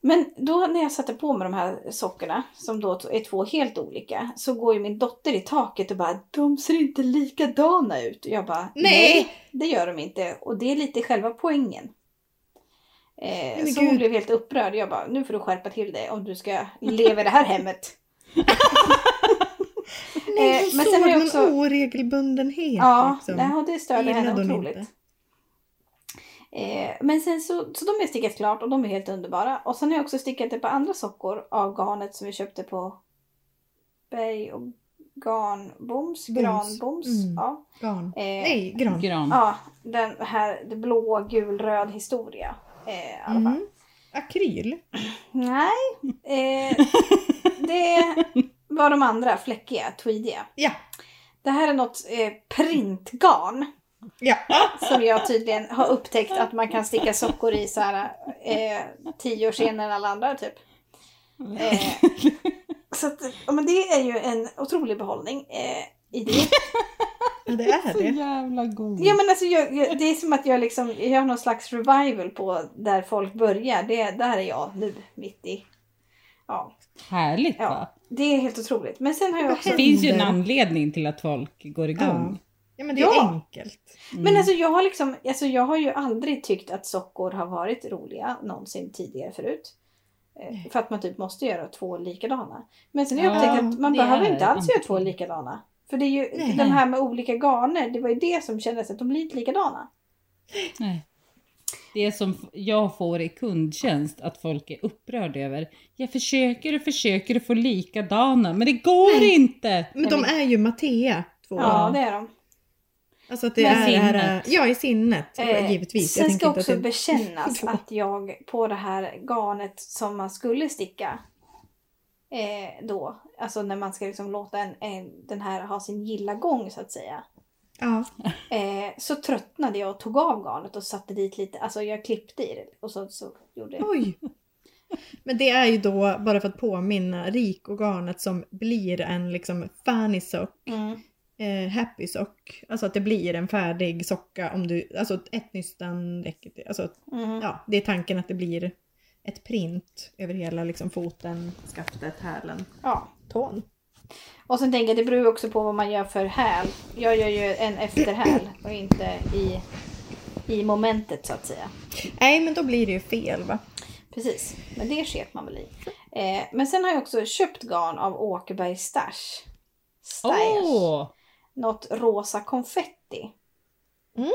Men då när jag satte på mig de här sockorna, som då är två helt olika, så går ju min dotter i taket och bara “de ser inte likadana ut”. Och jag bara
Nej!
det gör de inte. Och det är lite själva poängen. Eh,
men
så hon
gud.
blev helt upprörd. Jag bara “nu får du skärpa till dig om du ska leva i det här hemmet”. Eh, men sen har jag också...
oregelbundenhet.
Ja,
liksom.
nej, det störde
Gillade
henne
hon
otroligt.
inte.
Eh, men sen så, så de har jag stickat klart och de är helt underbara. Och sen har jag också stickat ett par andra sockor av garnet som vi köpte på Berg och Garnboms, Granboms.
Mm.
Ja.
Garn.
Eh,
Nej, gran.
Gran.
ja, den här det blå, gul, röd historia. Eh, i alla fall.
Mm. Akryl.
Nej, eh, det var de andra fläckiga, tweediga.
Ja.
Det här är något eh, printgarn.
Ja.
Som jag tydligen har upptäckt att man kan sticka sockor i så här eh, tio år senare än alla andra typ. Eh, så att, ja, men det är ju en otrolig behållning eh, i det.
Ja, det är
Så
det.
jävla god.
Ja men alltså jag, jag, det är som att jag liksom jag gör någon slags revival på där folk börjar. Det, där är jag nu, mitt i. Ja,
Härligt
Ja.
va?
det är helt otroligt. Men sen har jag också...
Det finns ju en
Händer.
anledning till att folk går igång.
Ja, men det är
Ja.
enkelt.
Mm.
Men alltså jag har liksom, alltså jag har ju aldrig tyckt att sockor har varit roliga någonsin tidigare förut. Eh,
Nej.
För att man typ måste göra två likadana. Men sen har jag
Ja,
upptäckt att man
det
behöver
är
inte alls göra
annorlunda.
två likadana. För det är ju
Nej.
de här med olika garner, det var ju det som kändes att de blir inte likadana.
Nej. Det som f- jag får i kundtjänst att folk är upprörda över. Jag försöker och försöker att få likadana men det går
Nej.
inte!
Men de är ju Matea. Två.
Ja, det är de.
Alltså att det
Men
är det här,
sinnet.
ja i sinnet
Eh,
givetvis.
Sen ska
tänker
också
inte att det-
bekännas
Två.
att jag på det här garnet som man skulle sticka eh, då, alltså när man ska liksom låta en, en, den här ha sin gilla gång så att säga.
Ja.
Eh, så tröttnade jag och tog av garnet och satte dit lite, alltså jag klippte i det och så, så gjorde jag.
Oj! Men det är ju då, bara för att påminna, rik och garnet som blir en liksom fanny sock,
Mm.
eh, happy sock. Alltså att det blir en färdig socka om du, alltså ett nystan räcker till. Alltså
Mm.
ja, det är tanken att det blir ett print över hela liksom foten, skaftet, hälen,
Ja.
tån.
Och sen tänker jag, det beror ju också på vad man gör för häl. Jag gör ju en efterhäl och inte i, i momentet så att säga.
Nej men då blir det ju fel va?
Precis, men det sket man väl i. Eh, men sen har jag också köpt garn av Åkerberg Stash. Stash.
Åh!
Något rosa konfetti.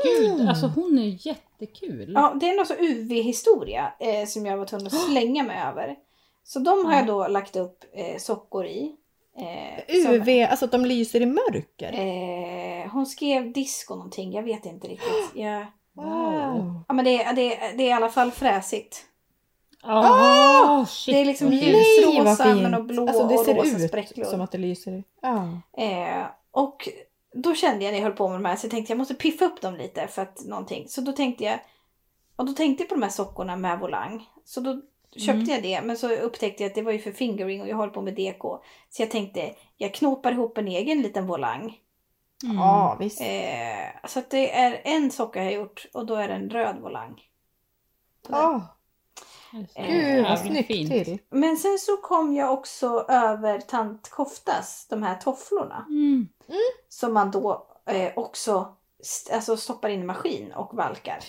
Gud, alltså hon är ju jättekul.
Ja, det är någon så UV-historia eh, som jag var tvungen att slänga mig över. Så de har jag då lagt upp eh, sockor i. Eh, som-
UV, alltså att de lyser i mörker.
eh, hon skrev disco någonting, jag vet inte riktigt. Jag,
Wow.
ja, men det, är- det, är- det är i alla fall fräsigt.
Åh, Ah, shit,
det är liksom
vad kul.
ljus.
Nej
Rosa,
vad fint!
men och blå
alltså det
och
ser
rosa
ut
spräcklor.
som att det lyser i.
Mm.
Ja.
Eh, och då kände jag när jag höll på med de här så jag tänkte jag måste piffa upp dem lite för att någonting. Så då tänkte jag, och då tänkte jag på de här sockorna med volang. Så då köpte
Mm.
jag det men så upptäckte jag att det var ju för fingering och jag håller på med DK. Så jag tänkte, jag knåpar ihop en egen liten volang.
Mm.
Ja, visst.
Eh, så att det är en socka jag har gjort och då är det en röd volang. på den.
Ah,
Jävligt
gud vad snyggt
Alltså, eh, fint.
till.
Men sen så kom jag också över tant Koftas, de här tofflorna.
Mm.
Som man då eh, också st- alltså stoppar in i maskin och valkar.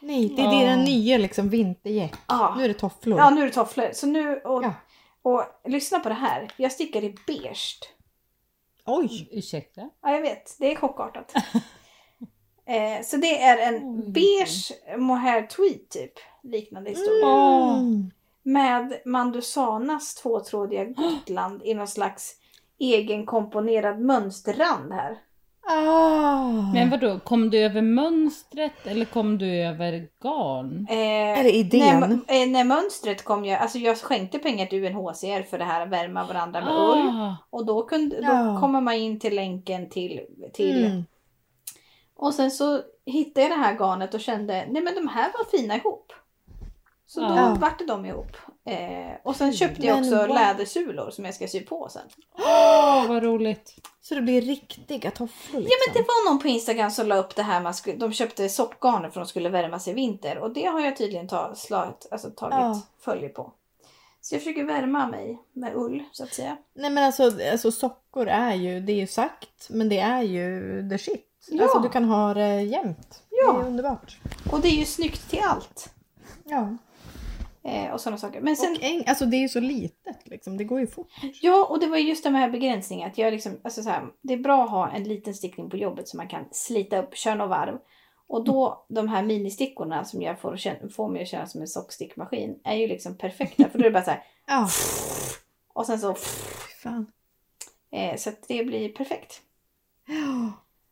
Nej, det,
Ja.
det är den nya liksom vintergäck.
Ja.
Ah, Nu är det tofflor.
Ja, nu är det tofflor. Så nu, och,
Ja.
och lyssna på det här. Jag stickar i beige.
Oj!
Ursäkta?
Ja, jag vet. Det är chockartat. eh, så det är en
Oj.
beige mohair tweed typ. Liknande
Mm.
historia.
Åh.
Med Mandusanas tvåtrådiga Gotland i någon slags egenkomponerad mönsterrand här.
Ah.
Men vadå, kom du över mönstret eller kom du över garn?
Eh,
Eller idén.
När, eh, när mönstret kom, jag, alltså jag skänkte pengar till UNHCR för det här att värma varandra med ull.
Ah,
Och då, kunde,
Ja.
då kommer man in till länken till, till
Mm.
Och sen så hittade jag det här garnet och kände, nej men de här var fina ihop. Så då
Ja.
vart det de ihop. Eh, och sen köpte jag
Men
också
vad-
lädersulor som jag ska sy på sen.
Åh, Ah, vad roligt.
Så det blir riktiga tofflor liksom.
Ja men det var någon på Instagram som la upp det här, man skulle, de köpte sockgarn för de skulle värma sig i vinter. Och det har jag tydligen ta, slagit, alltså, tagit
Ja.
följe på. Så jag försöker värma mig med ull så att säga.
Nej men alltså, alltså sockor är ju, det är ju sagt, men det är ju the shit.
Ja.
Alltså du kan ha det jämt.
Ja.
Det är underbart.
Och det är ju snyggt till allt.
Ja.
Eh, och sådana saker. Men sen,
Och en, alltså det är ju så litet Liksom. Det går ju fort.
Ja, och det var just de här begränsningarna. Att jag liksom, alltså så här, det är bra att ha en liten stickning på jobbet som man kan slita upp, köra några varv. Och då de här ministickorna som jag får, känna, får mig att känna som en sockstickmaskin är ju liksom perfekta. För då är det bara så här,
Ja,
och sen så,
fan.
eh, så att det blir perfekt.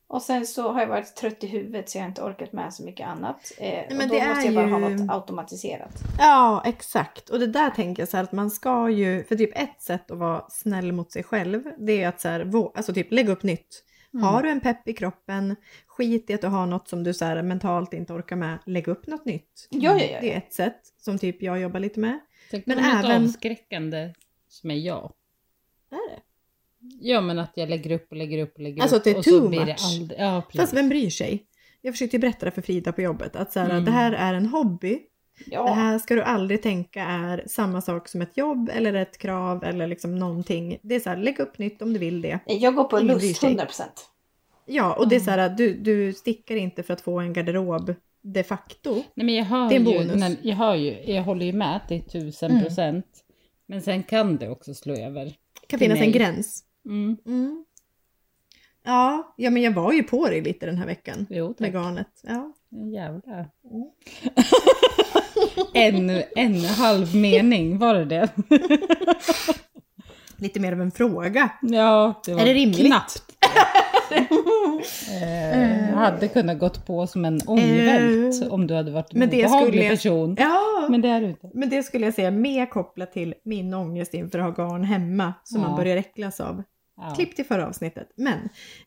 Och sen så har jag varit trött i huvudet så jag har inte orkat med så mycket annat. Eh,
men
och då
det
måste
är
jag bara ha
ju-
något automatiserat.
Ja, exakt. Och det där tänker jag så här att man ska ju, för typ ett sätt att vara snäll mot sig själv, det är att så här, vå- alltså typ lägga upp nytt.
Mm.
Har du en pepp i kroppen, skit i att du har något som du så här mentalt inte orkar med, lägg upp något nytt.
Ja, ja, ja.
Det är ett sätt som typ jag jobbar lite med.
Tänk
Men
men även...
även-
något avskräckande som är jag.
Är det?
Ja men att jag lägger upp och lägger upp och lägger
Alltså,
upp.
att det är
och
too
så blir det
much.
aldrig... Ja precis.
Fast vem bryr sig? Jag försökte ju berätta det för Frida på jobbet, att så här,
Mm.
det här är en hobby, Det
ja.
här ska du aldrig tänka är samma sak som ett jobb eller ett krav eller liksom någonting. Det är så här, lägg upp nytt om du vill det.
Jag går på
Ingen bryr
lust
sig.
100%.
Ja, och det är så här, du, du stickar inte för att få en garderob de facto.
Nej men jag hör
Det är en
ju,
bonus.
nej, jag hör ju, jag håller ju med att det är tusen
Mm.
procent. Men sen kan det också slå över.
Det kan
Till
finnas en
mig.
gräns.
Mm.
Ja, ja, men jag var ju på dig lite den här veckan
Jo
med
tack.
garnet. Ja.
Jävlar.
Mm.
en, en halv mening, var det det?
Lite mer av en fråga.
Ja, det var
Är det rimligt?
knappt. Eh, jag hade kunnat gått på som en ångvält
Eh,
om du hade varit en
men det
obehaglig
skulle jag-
person.
Ja, men,
Men det är du inte.
det skulle jag säga mer kopplat till min ångest inför att ha garn hemma som man
Ja.
börjar äcklas av.
Ja.
Klipp till förra avsnittet. Men,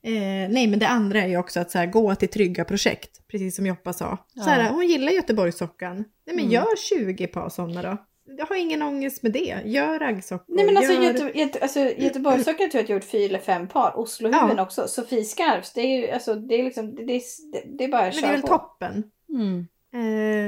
eh, nej, men det andra är ju också att så här, gå till trygga projekt, precis som Joppa sa. Så här,
Ja.
hon gillar Göteborgssockan. Nej, men
Mm.
gör 20 par sådana då. Jag har ingen ångest med det. Gör raggsockor.
Nej men alltså,
gör...
Göte, Göte, alltså Göteborgssockran tror jag att jag har gjort fyra eller fem par. Oslohuvuden också. Sofie Skarps. Det är ju alltså, det är liksom, det, det, är- det är bara att
men det är
köra
väl
på.
toppen.
Mm.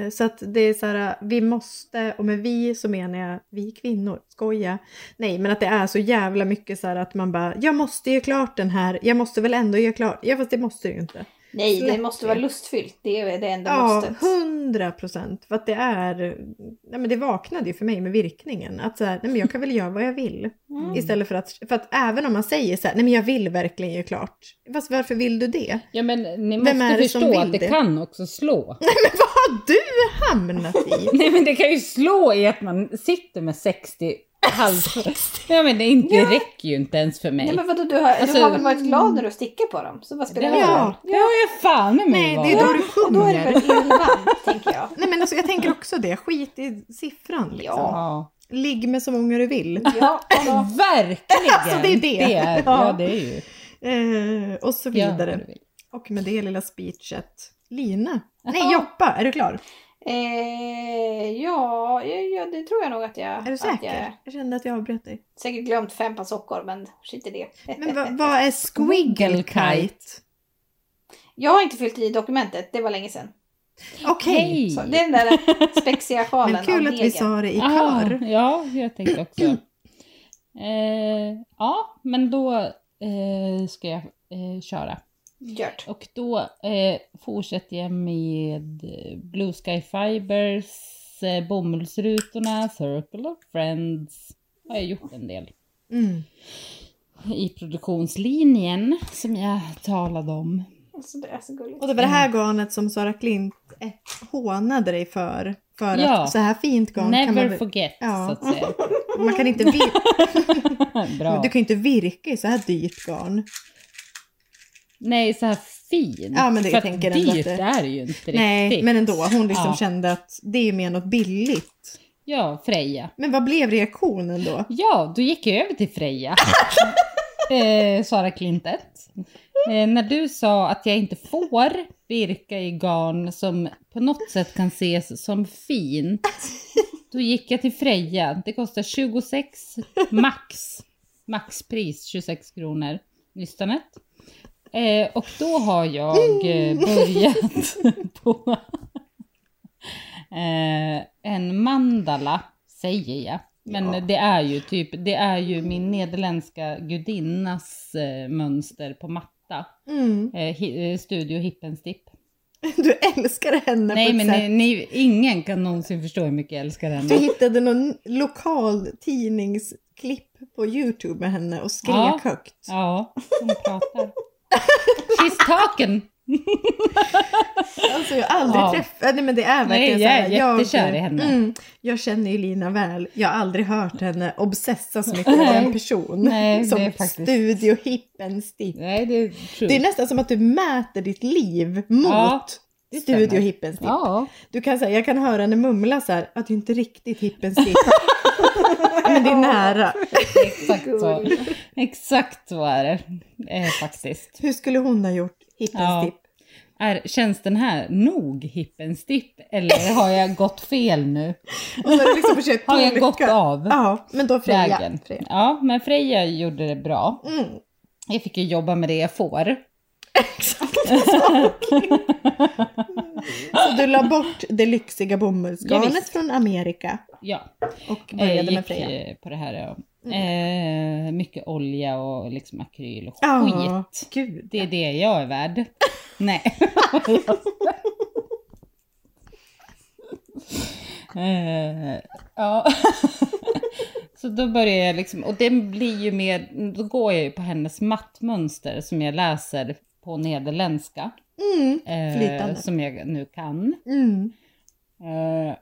Eh, så att det är så här, eh, vi måste, och med vi så menar jag vi kvinnor, skoja. Nej, men att det är så jävla mycket så här att man bara, jag måste ju klart den här, jag måste väl ändå göra klart. Ja, fast det måste du ju inte.
Nej, det
Släpp
måste
det.
vara lustfyllt. Det är det enda
Ja,
måstet.
hundra procent. För att det är, nej men det vaknade ju för mig med virkningen. Att så här, nej men jag kan väl göra vad jag vill.
Mm.
Istället för att, för att även om man säger så här, nej men jag vill verkligen ju klart. Fast varför vill du det?
Ja men ni
Vem är
måste
det som
förstå
vill
att det
det?
kan också slå.
Men vad har du hamnat i?
Nej men det kan ju slå i att man sitter med 60 halsdukar. Ja men det, är inte, det räcker ju inte ens för mig.
Nej men vadå, du har,
Alltså,
du har väl varit glad när du stickar på dem? Så vad
det
spelar
har
det
jag.
roll?
Ja.
Det har jag fan i mig
Nej, det
varit.
är då du
Och då är det
sjunger.
väl irrelevant, tänker jag.
Nej men alltså jag tänker också det, skit i siffran liksom.
Ja.
Ja.
Ligg med så många du vill.
Ja, och då,
Verkligen!
Alltså, det är det.
är,
Ja.
ja. det är ju.
Eh, och så
Gör
vidare.
vad du vill.
Och med det lilla speechet. Lina. Nej Joppa, är du klar?
eh, ja, ja, ja, det tror jag nog att jag...
Är du
Att jag
säker? Jag kände att jag avbröt dig.
säkert glömt fem par sockor, men skit i det.
Men va-
Eh,
vad är squiggle kite?
Jag har inte fyllt i dokumentet, det var länge sedan.
Okej.
Hej.
Så, det är den där spexiga sjalen
Men kul
av
att vi
degen.
sa det i
Ah,
kör.
ja, jag tänkte också. Eh, ja, men då eh, ska jag eh, köra.
Gjort.
Och då eh, fortsätter jag med eh, Blue Sky Fibers, eh, bomullsrutorna, Circle of Friends. Har jag gjort en del
Mm.
i produktionslinjen som jag talade om.
Alltså, det är så gulligt.
Och det var det här garnet som Sara Klint eh, hånade dig för. För
Ja.
att så här fint garn
Never
kan man väl-
forget,
Ja.
så att säga.
Man kan inte vir-
Bra.
Du kan ju inte virka i så här dyrt garn.
Nej, så här fin.
Ja, men det-
För
jag
att
tänker ändå att
dyrt
det-
är det ju inte riktigt.
Nej, men ändå. Hon liksom
Ja.
kände att det är mer något billigt.
Ja, Freja.
Men vad blev reaktionen då?
Ja, då gick jag över till Freja. eh, Sara Klintet. Eh, när du sa att jag inte får virka i garn som på något sätt kan ses som fint. Då gick jag till Freja. Det kostar 26 max. Maxpris 26 kronor. Nystanet. Eh, och då har jag eh, börjat på eh, en mandala, säger jag. Men
Ja.
det är ju typ, det är ju min nederländska gudinnas eh, mönster på matta.
Mm.
Eh, hi, eh, studio Hippenstipp.
Du älskar henne
Nej
på ett
men
sätt.
ni, ni, ingen kan någonsin förstå hur mycket jag älskar henne.
Du hittade någon lokal tidningsklipp på Youtube med henne och skrek
Ja.
högt.
Ja, hon pratar. She's talking!
Alltså jag har aldrig
Ja.
träffat... Nej men det är verkligen
Nej, jag är
så här,
jättekär i henne.
Mm, jag känner ju Lina väl. Jag har aldrig hört henne obsessa så mycket över en
Nej.
person.
Nej, det
som
är faktiskt-
studiohippen stipp.
Nej, det är true.
Det är nästan som att du mäter ditt liv mot
Ja, det stämmer.
studiohippens dipp.
Ja.
Du kan säga, jag kan höra henne mumla så här, att det är inte riktigt hippens dipp. men det är nära.
Exakt så. Exakt så är det eh, faktiskt.
Hur skulle hon ha gjort hippens
Ja.
dipp?
Är, känns den här nog hippens dipp eller har jag gått fel nu?
Och så har du liksom försökt
Har jag
tolka-
gått av
Ja, men då Freja.
vägen?
Freja.
Ja, men Freja gjorde det bra.
Mm.
Jag fick ju jobba med det jag får.
Exakt så. så du la bort det lyxiga bomullsgarnet
Ja, visst.
från Amerika
Ja,
och
eh,
började med
gick
Freja. Mm.
eh, på det här. Ja. Eh, mycket olja och liksom akryl och
Ja,
skit.
gud.
Det är det jag är värd. Nej. Eh, ja. Så då börjar jag liksom, och det blir ju mer, då går jag ju på hennes mattmönster som jag läser på nederländska.
Mm,
eh,
Flytande.
Som jag nu kan.
mm.
Eh,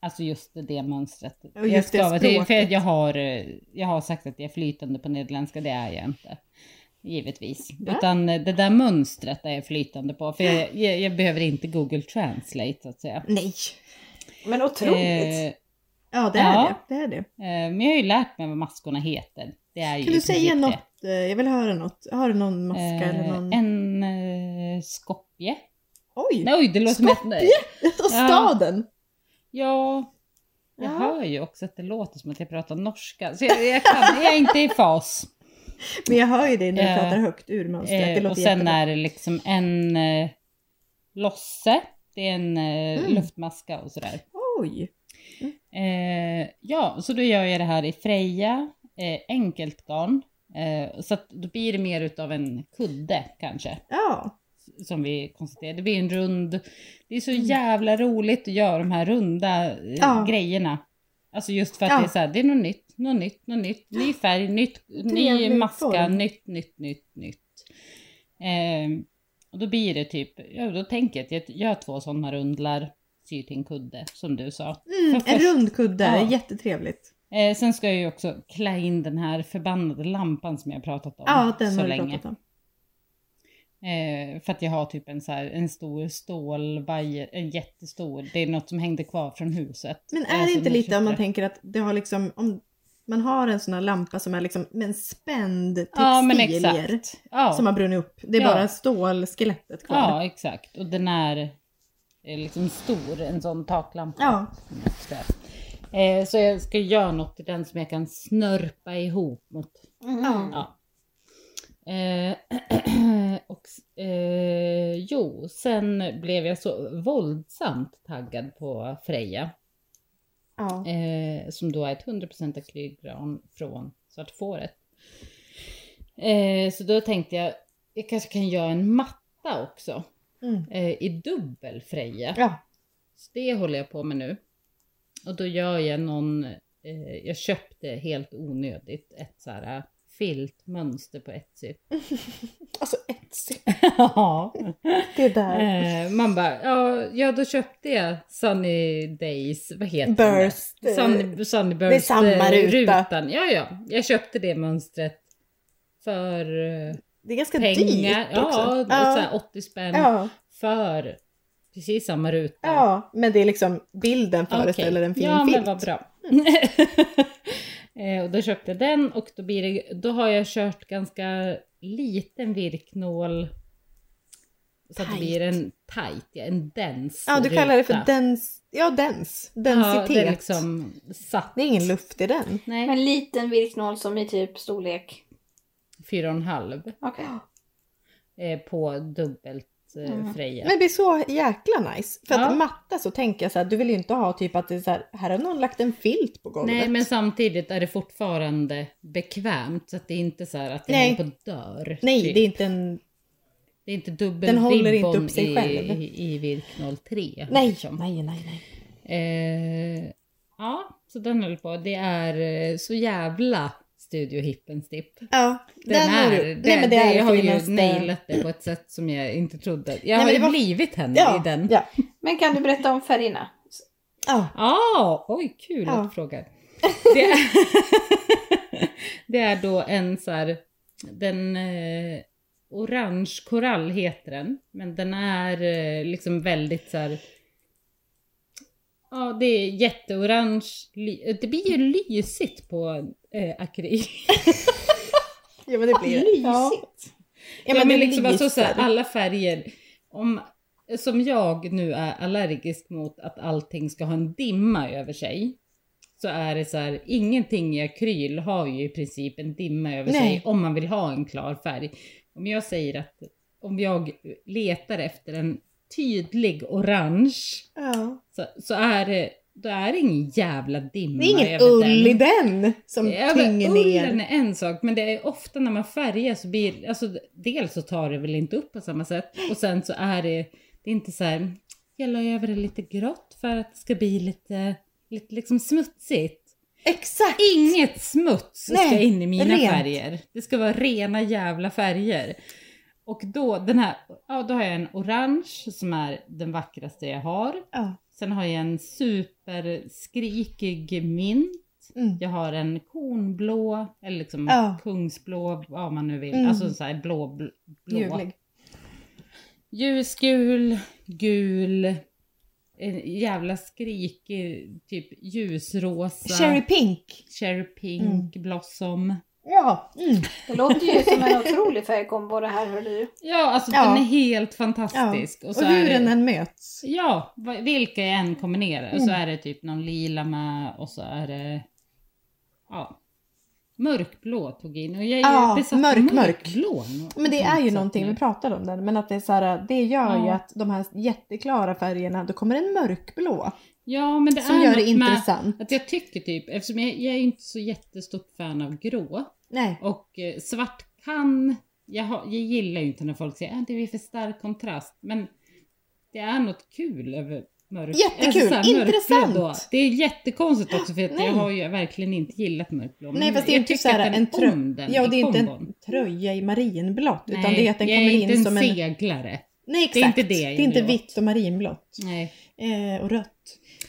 alltså just det mönstret.
Och
jag,
just det
stavar till, för
språket.
att jag, har, eh, jag har sagt att jag är flytande på nederländska, det är jag inte. Givetvis.
Va?
Utan eh, det där mönstret är jag flytande på. För jag, jag, jag behöver inte Google Translate så att säga.
Nej.
Men
Eh,
otroligt.
eh,
Ja, det är
Ja.
det. det, är det.
men jag har ju lärt mig vad maskorna heter. Det är ju
Kan du
i princip
säga
det.
något? eh, Jag vill höra något. Har du någon maska eller
Eh,
någon?
En eh, Skopje.
Oj!
Nej, oj, det låter som ett...
Skopje? Och staden!
Ja, jag
Ja.
hör ju också att det låter som att jag pratar norska. Så jag, jag, kan, jag är inte i fas.
Men jag hör ju dig när du
Eh,
pratar högt ur mönstret. Det
Eh,
låter
och sen
jättebra.
är det liksom en eh, losse, det är en eh,
Mm.
luftmaska och sådär.
Oj!
Eh, ja, så då gör jag det här i Freja, eh, enkelt garn. Eh, så att då blir det mer utav en kudde kanske,
Ja.
s- som vi konstaterade. Det blir en rund, det är så jävla roligt att göra de här runda eh,
Mm. Ja.
grejerna. Alltså just för att
Ja.
det är så här, det är något nytt, något nytt, något nytt, ny färg, nytt, ny
Trevlig
maska,
form.
nytt, nytt, nytt, nytt. Ehm, och då blir det typ, ja då tänker jag att jag gör två sådana rundlar, syr till en kudde som du sa.
Mm,
För
en
först-
rund kudde,
Ja.
jättetrevligt.
Eh, sen ska jag ju också klä in den här förbannade lampan som jag har pratat om
Ja, den
så
har du
länge.
pratat om.
Eh, för att jag har typ en, så här, en stor stålvajer, en jättestor, det är något som hängde kvar från huset.
Men
Eh,
är det
som
inte
jag
lite om man
köpte.
tänker att det har liksom, om man har en sån här lampa som är liksom med en spänd textilier
Ja men exakt. Ja.
som har brunnit upp. Det är
Ja.
bara stålskelettet kvar.
Ja, exakt. Och den är eh, liksom stor, en sån taklampa.
Ja.
Sådär. Eh, så jag ska göra något i den som jag kan snörpa ihop mot.
Mhm.
Ja.
Ja. Eh, och, s- eh, jo, sen blev jag så våldsamt taggad på Freja.
Ja.
Eh, som då är ett 100% akrylgran från Svartfåret. Eh, så då tänkte jag, jag kanske kan göra en matta också.
Mm.
Eh, I dubbel Freja.
ja.
Så det håller jag på med nu. Och då gör jag någon, eh, jag köpte helt onödigt ett så här filtmönster på Etsy.
Alltså Etsy,
Ja.
det där.
Eh, man bara, ja, ja då köpte jag Sunny Days, vad heter
Burst.
det? Sunny, Sunny Burst.
Det är samma
eh,
ruta.
rutan. Ja, ja. Jag köpte det mönstret för eh,
Det är ganska
pengar.
dyrt också.
Ja, och Så här 80 spänn
ja.
för precis samma ruta.
ja, men det är liksom bilden
Okej.
föreställer en fin
Ja, men
filt. Mm.
vad bra. Eh, och då köpte jag den och då, blir det, då har jag kört ganska liten virknål. Så att det
Tight.
blir en tight, ja, en dens
Ja, du kallar det för
ruta.
dens, ja, dens.
Ja,
densitet.
det är liksom satt.
det är ingen luft i den.
Nej,
En liten virknål som i typ storlek.
fyra och en halv
Okej.
eh, på dubbelt eh,
Mm.
Freja.
Men det blir så jäkla nice. För att
Ja.
matta så tänker jag så här, du vill ju inte ha typ att det är så här, här har någon lagt en filt på golvet.
Nej, men samtidigt är det fortfarande bekvämt så att det är inte så här att det
Nej.
håller på och dör.
Nej,
typ.
det är inte en
Det är inte dubbel
Den håller
ribbon
inte upp sig
i,
själv.
i, i Virk 03.
Nej,
liksom.
nej, nej, nej.
Eh, ja, så den höll på. Det är eh, så jävla Studio Hippenstipp.
Ja,
Den, är,
du.
det,
nej, men det, är det
har ju
finaste-
nailat det på ett sätt som jag inte trodde. Jag
men
har ju
det var-
blivit henne
ja,
i den.
Ja,
Men kan du berätta om färgerna?
ja.
Ah, oj, kul
Ja.
att du frågar. Det är, det är då en så här, den eh, orange korall heter den, men den är eh, liksom väldigt så här. Ja, det är jätteorange. ly- Det blir ju lysigt på eh, akryl.
ja men det blir det. Ja,
Mysigt.
Ja, men,
det
liksom alltså, så här,
lyser.
alla färger. Om, som jag nu är allergisk mot att allting ska ha en dimma över sig. Så är det så här, ingenting i akryl har ju i princip en dimma över
Nej.
sig om man vill ha en klar färg. Om jag säger att om jag letar efter en tydlig orange
ja.
så, så är det, då är det ingen jävla dimma
Det är ingen
över den.
ull i den som
Ja, men
tynger
Ullen
ner.
är en sak, men det är ofta när man färgar så blir alltså dels så tar det väl inte upp på samma sätt och sen så är det, det är inte så här, jag la över det lite grått för att det ska bli lite, lite liksom smutsigt.
Exakt!
Inget smuts ska
Nej,
in i mina
rent.
färger. Det ska vara rena jävla färger. Och då, den här, ja då har jag en orange som är den vackraste jag har.
Ja.
Sen har jag en superskrikig mint.
Mm.
Jag har en kornblå, eller liksom
Ja.
kungsblå, vad man nu vill.
Mm.
Alltså så här blå, bl- blå.
Ljuvlig.
Ljusgul, gul, en jävla skrikig, typ ljusrosa.
Cherry pink. Mm.
cherry pink, blossom.
Ja. Mm.
Det låter ju som en otrolig färgkombo det här hör du.
Ja, alltså
Ja.
den är helt fantastisk.
Och,
så är
hur
det-
den än möts.
Ja, va- vilka jag än kombinerar.
Mm.
Så är det typ någon lila med och så är det ja, mörkblå tog jag in. Och jag är
Ja,
ju besatt
mörk,
av
mörk.
mörkblå.
Men det är ju
Så
någonting
nu-
vi pratar om den, men att det är så här, det gör ju
Ja.
att de här jätteklara färgerna, då kommer en mörkblå
Ja, men det
som
är
gör det
något med
intressant.
att jag tycker typ, eftersom jag, jag är inte så jättestort fan av grå
Nej.
och eh, svart kan, jag, har, jag gillar ju inte när folk säger att det är för stark kontrast, men det är något kul över mörk. Alltså,
Jättekul,
så här, mörkblå
intressant.
då. Det är jättekonstigt också för att
Nej.
jag har ju verkligen inte gillat mörkblå. men
Nej fast det är
jag
inte
tycker
så här
att den
en
är
tröja.
om den
Ja,
i
och det är inte
kombon.
en tröja i marinblått utan
Nej,
det är att den
jag
kommer
är inte
in
en
som en...
seglare.
Nej
Det är
exakt.
inte det jag
det är inte
vill åt.
vitt och marinblått.
Nej.
Eh, och rött.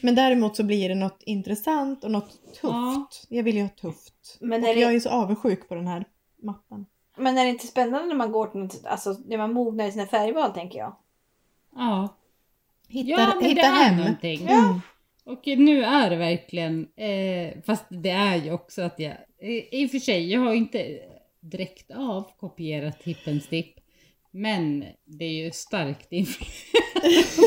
Men däremot så blir det något intressant och något tufft.
Ja.
Jag vill ju ha tufft.
Men
och
är det-
jag är så avundsjuk på den här mappen.
Men är det inte spännande när man går till något, alltså när man mognar i sina färgval tänker jag?
Ja.
Hitta,
ja, men
hitta
det
hem.
är någonting.
Mm.
Och nu är det verkligen, eh, fast det är ju också att jag, eh, i och för sig, jag har inte direkt av kopierat Hippens dipp, men det är ju starkt influerat.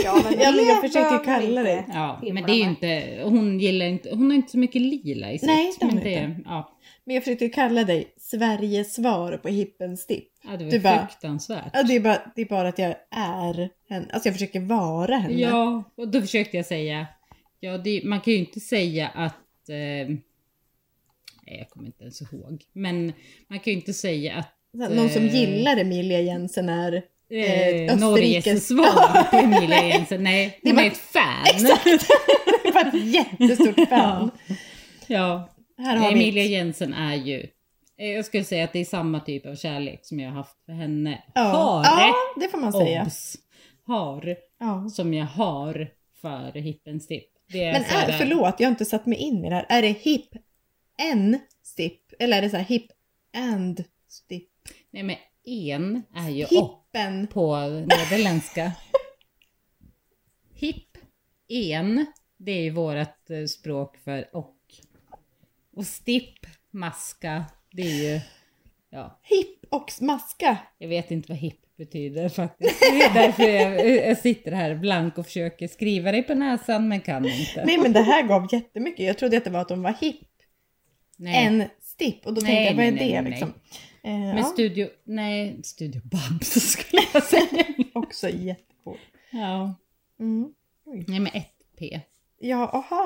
Ja men,
Ja, men jag
det
försökte ju
behöver
kalla
inte.
det.
Ja, men det är ju inte, hon gillar inte, hon har inte så mycket lila i sitt.
Nej, det har
men
hon
det, ja,
Men jag försökte ju kalla dig Sveriges svar på hippens dipp.
ja, det var
Du bara-
fruktansvärt.
Ja, det, är bara, det är bara att jag är henne. Alltså jag försöker vara henne.
Ja, och då försökte jag säga, ja det, man kan ju inte säga att, eh, nej jag kommer inte ens ihåg, men man kan ju inte säga att
Så att Någon som
Eh.
gillar Emilia Jensen är... Eh,
eh,
Österrikes-
Norges svar på Emilia Jensen. Nej,
Det
hon
var-
är ett fan.
Exakt! Det var ett jättestort fan.
Ja.
Här har
Emilia
vi... ett-
Jensen är ju, eh, jag skulle säga att det är samma typ av kärlek som jag har haft för henne.
Ja.
Har,
ja, det får man säga.
obs, har,
Ja.
som jag har för Hippens dipp. Det är
Men
så här-
är, förlåt, jag har inte satt mig in i det här. Är det hip en stipp? Eller är det så här hip and stipp?
Nej men en är ju och
Hippen.
på nederländska. Hipp, en, det är ju vårt eh, språk för och. Och stipp, maska, det är ju, ja,
Hipp och maska.
jag vet inte vad hipp betyder faktiskt. Det är därför jag, jag sitter här blank och försöker skriva det på näsan men kan inte.
Nej men det här gav jättemycket. Jag trodde att det var att de var hipp
Nej.
en stipp. Och då
Nej,
tänkte jag, vad är
nej,
det
nej, nej.
liksom? Eh,
Men
ja,
studio, nej, studio Babs skulle jag säga.
också jättecool.
Ja,
Mm.
nej men ett P.
Ja, aha.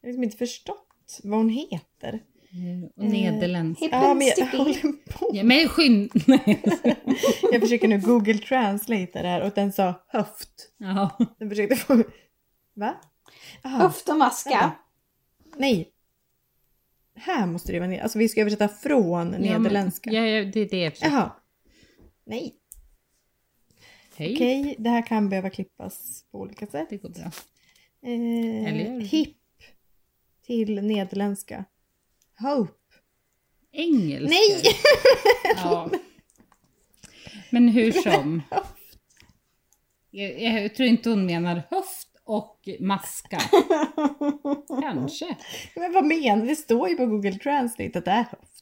Jag har liksom inte förstått vad hon heter.
Och nederländsk.
Ja, men jag,
Hippens hippie.
håller på.
Ja, men skynd... Nej.
jag försöker nu google translate det här och den sa höft.
Ja.
Den försökte få... Va? Aha,
Höft och maska.
Vänta. Nej. Här måste det vara ner. Alltså vi ska översätta från nederländska.
Ja, ja, det är det jag försöker.
Jaha. Nej.
Hej.
Okej, det här kan behöva klippas på olika sätt.
Det går bra.
Eh,
Eller-
hip till nederländska. Hope.
Engelska.
Nej!
Ja. Men hur som. Jag, jag tror inte hon menar höft och maska. Kanske.
Men vad menar Det står ju på Google Translate att det är höft.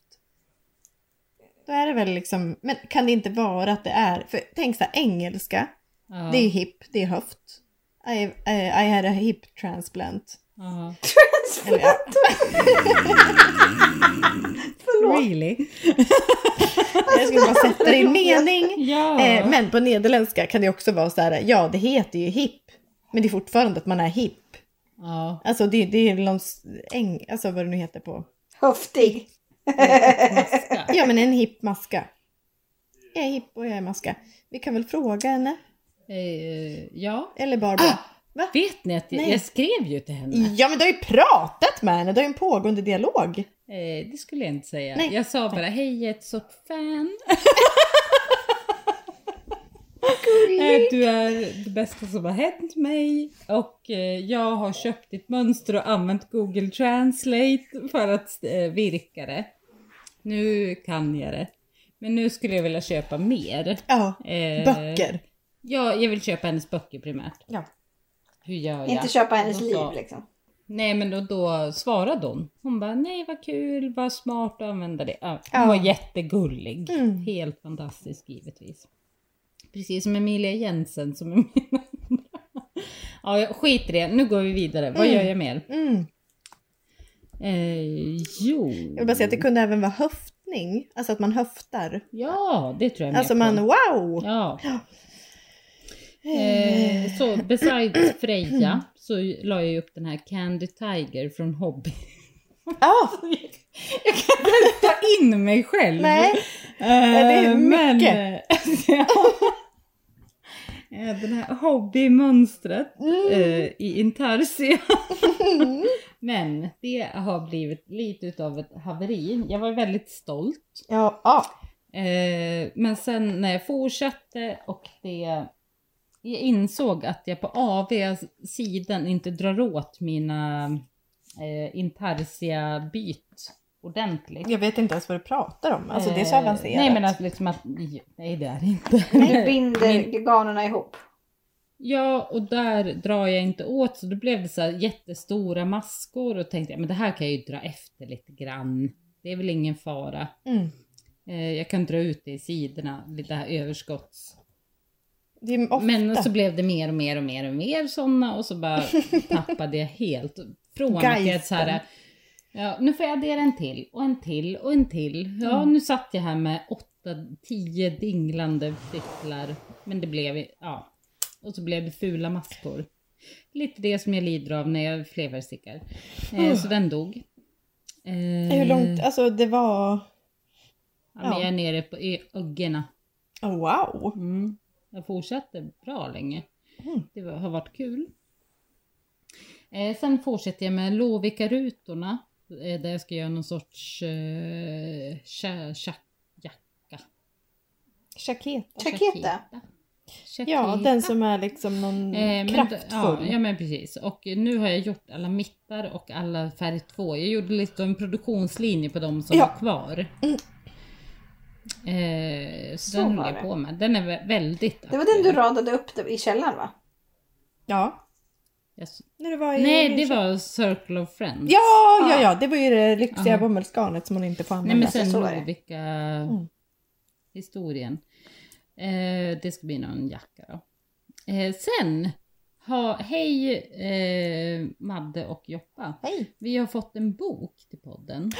Då är det väl liksom, men kan det inte vara att det är, för tänk så här, engelska,
Ja.
det är hip, det är höft. I, eh, I had a hip transplant.
Ja.
Eller, ja.
Really?
Jag skulle bara sätta det i en mening.
Ja.
Eh, men på nederländska kan det också vara så här, ja det heter ju hip, men det är fortfarande att man är hip.
ja.
Alltså det, det är någon, s- äng, alltså vad det nu heter på.
Höftig.
Maska.
Ja men en hipp maska. Jag är hipp och jag är maska. Vi kan väl fråga henne,
Eh, ja.
eller Barbara. Ah, Va?
Vet ni att jag,
Nej.
jag skrev ju till henne?
Ja men du har ju pratat med henne, du har ju en pågående dialog.
Eh, det skulle jag inte säga.
Nej.
Jag sa bara hej, jag är ett stort fan. Eh, Du är det bästa som har hänt mig och eh, jag har köpt ditt mönster och använt Google Translate för att eh, virka det. Nu kan jag det. Men nu skulle jag vilja köpa mer.
Ja,
Eh,
böcker.
Ja, jag vill köpa hennes böcker primärt.
Ja.
Hur gör jag?
Inte köpa hennes
Då
liv
sa-
liksom.
Nej men då, då svarade hon. Hon bara nej vad kul, vad smart att använda det. Ja, hon
Ja.
var jättegullig.
Mm.
Helt fantastisk givetvis. Precis som Emilia Jensen som är min Ja jag- skit i det, nu går vi vidare. Vad
Mm.
gör jag mer?
Mm.
Eh, jo.
Jag vill bara säga att det kunde även vara höftning, alltså att man höftar.
Ja det tror jag
Alltså
med
man,
på.
wow!
Ja. Eh, så besides Freja så la jag upp den här Candy Tiger från Hobby.
Ja,
Ah! Jag kan inte ta in mig själv.
nej.
Eh,
det är mycket.
Men, Eh, den här hobbymönstret eh, i intarsia. men det har blivit lite utav ett haveri. Jag var väldigt stolt.
Ja, ja.
Eh, men sen när jag fortsatte och det... Jag insåg att jag på AV-sidan inte drar åt mina eh, intarsia-byt ordentligt.
Jag vet inte ens vad du pratar om, alltså det är så
Eh,
avancerat.
Nej men att liksom att, nej det är det inte.
Du binder garnerna ihop.
ja och där drar jag inte åt så då blev det så här jättestora maskor och tänkte jag men det här kan jag ju dra efter lite grann. Det är väl ingen fara.
mm.
Eh, jag kan dra ut det i sidorna, det här överskotts.
Det är ofta.
Men så blev det mer och mer och mer och mer sådana och så bara tappade jag helt. Från att jag så här,
Geisten.
ja, nu får jag addera en till och en till och en till. Ja,
Mm.
nu satt jag här med åtta, tio dinglande fifflar. Men det blev, ja. Och så blev det fula maskor. Lite det som jag lider av när jag flerfärgstickar. Eh, så den dog. Eh,
Hur långt, alltså Oh. det var,
Ja, men jag är nere på i öggorna.
oh, wow.
Mm. Jag fortsatte bra länge.
Mm.
Det var, har varit kul. Eh, sen fortsätter jag med Lovika-rutorna. Eh, där jag ska göra någon sorts eh, cha, cha, jacka.
Shaketa.
Traketa.
Ja,
Shakita.
den som är liksom någon
Eh, men,
kraftfull.
Ja, ja men precis. Och nu har jag gjort alla mittar och alla färg 2. Jag gjorde lite av en produktionslinje på de som
Ja.
var kvar. Eh, så,
Så
den
var
håller jag
det.
på med. Den är vä- väldigt
Det var den du
aktuell.
radade upp där i källaren va?
Ja,
Jag
när det var i
Nej, det
Linköping.
var Circle of Friends.
Ja, ja, ja, det var ju det lyxiga
Ja.
bomullsgarnet som hon inte får använda.
Nej, men
så
sen
är det.
Lovica historien. Eh, det ska bli någon jacka då. Eh, sen, ha, hej eh, Madde och Joppa.
Hej!
Vi har fått en bok till podden.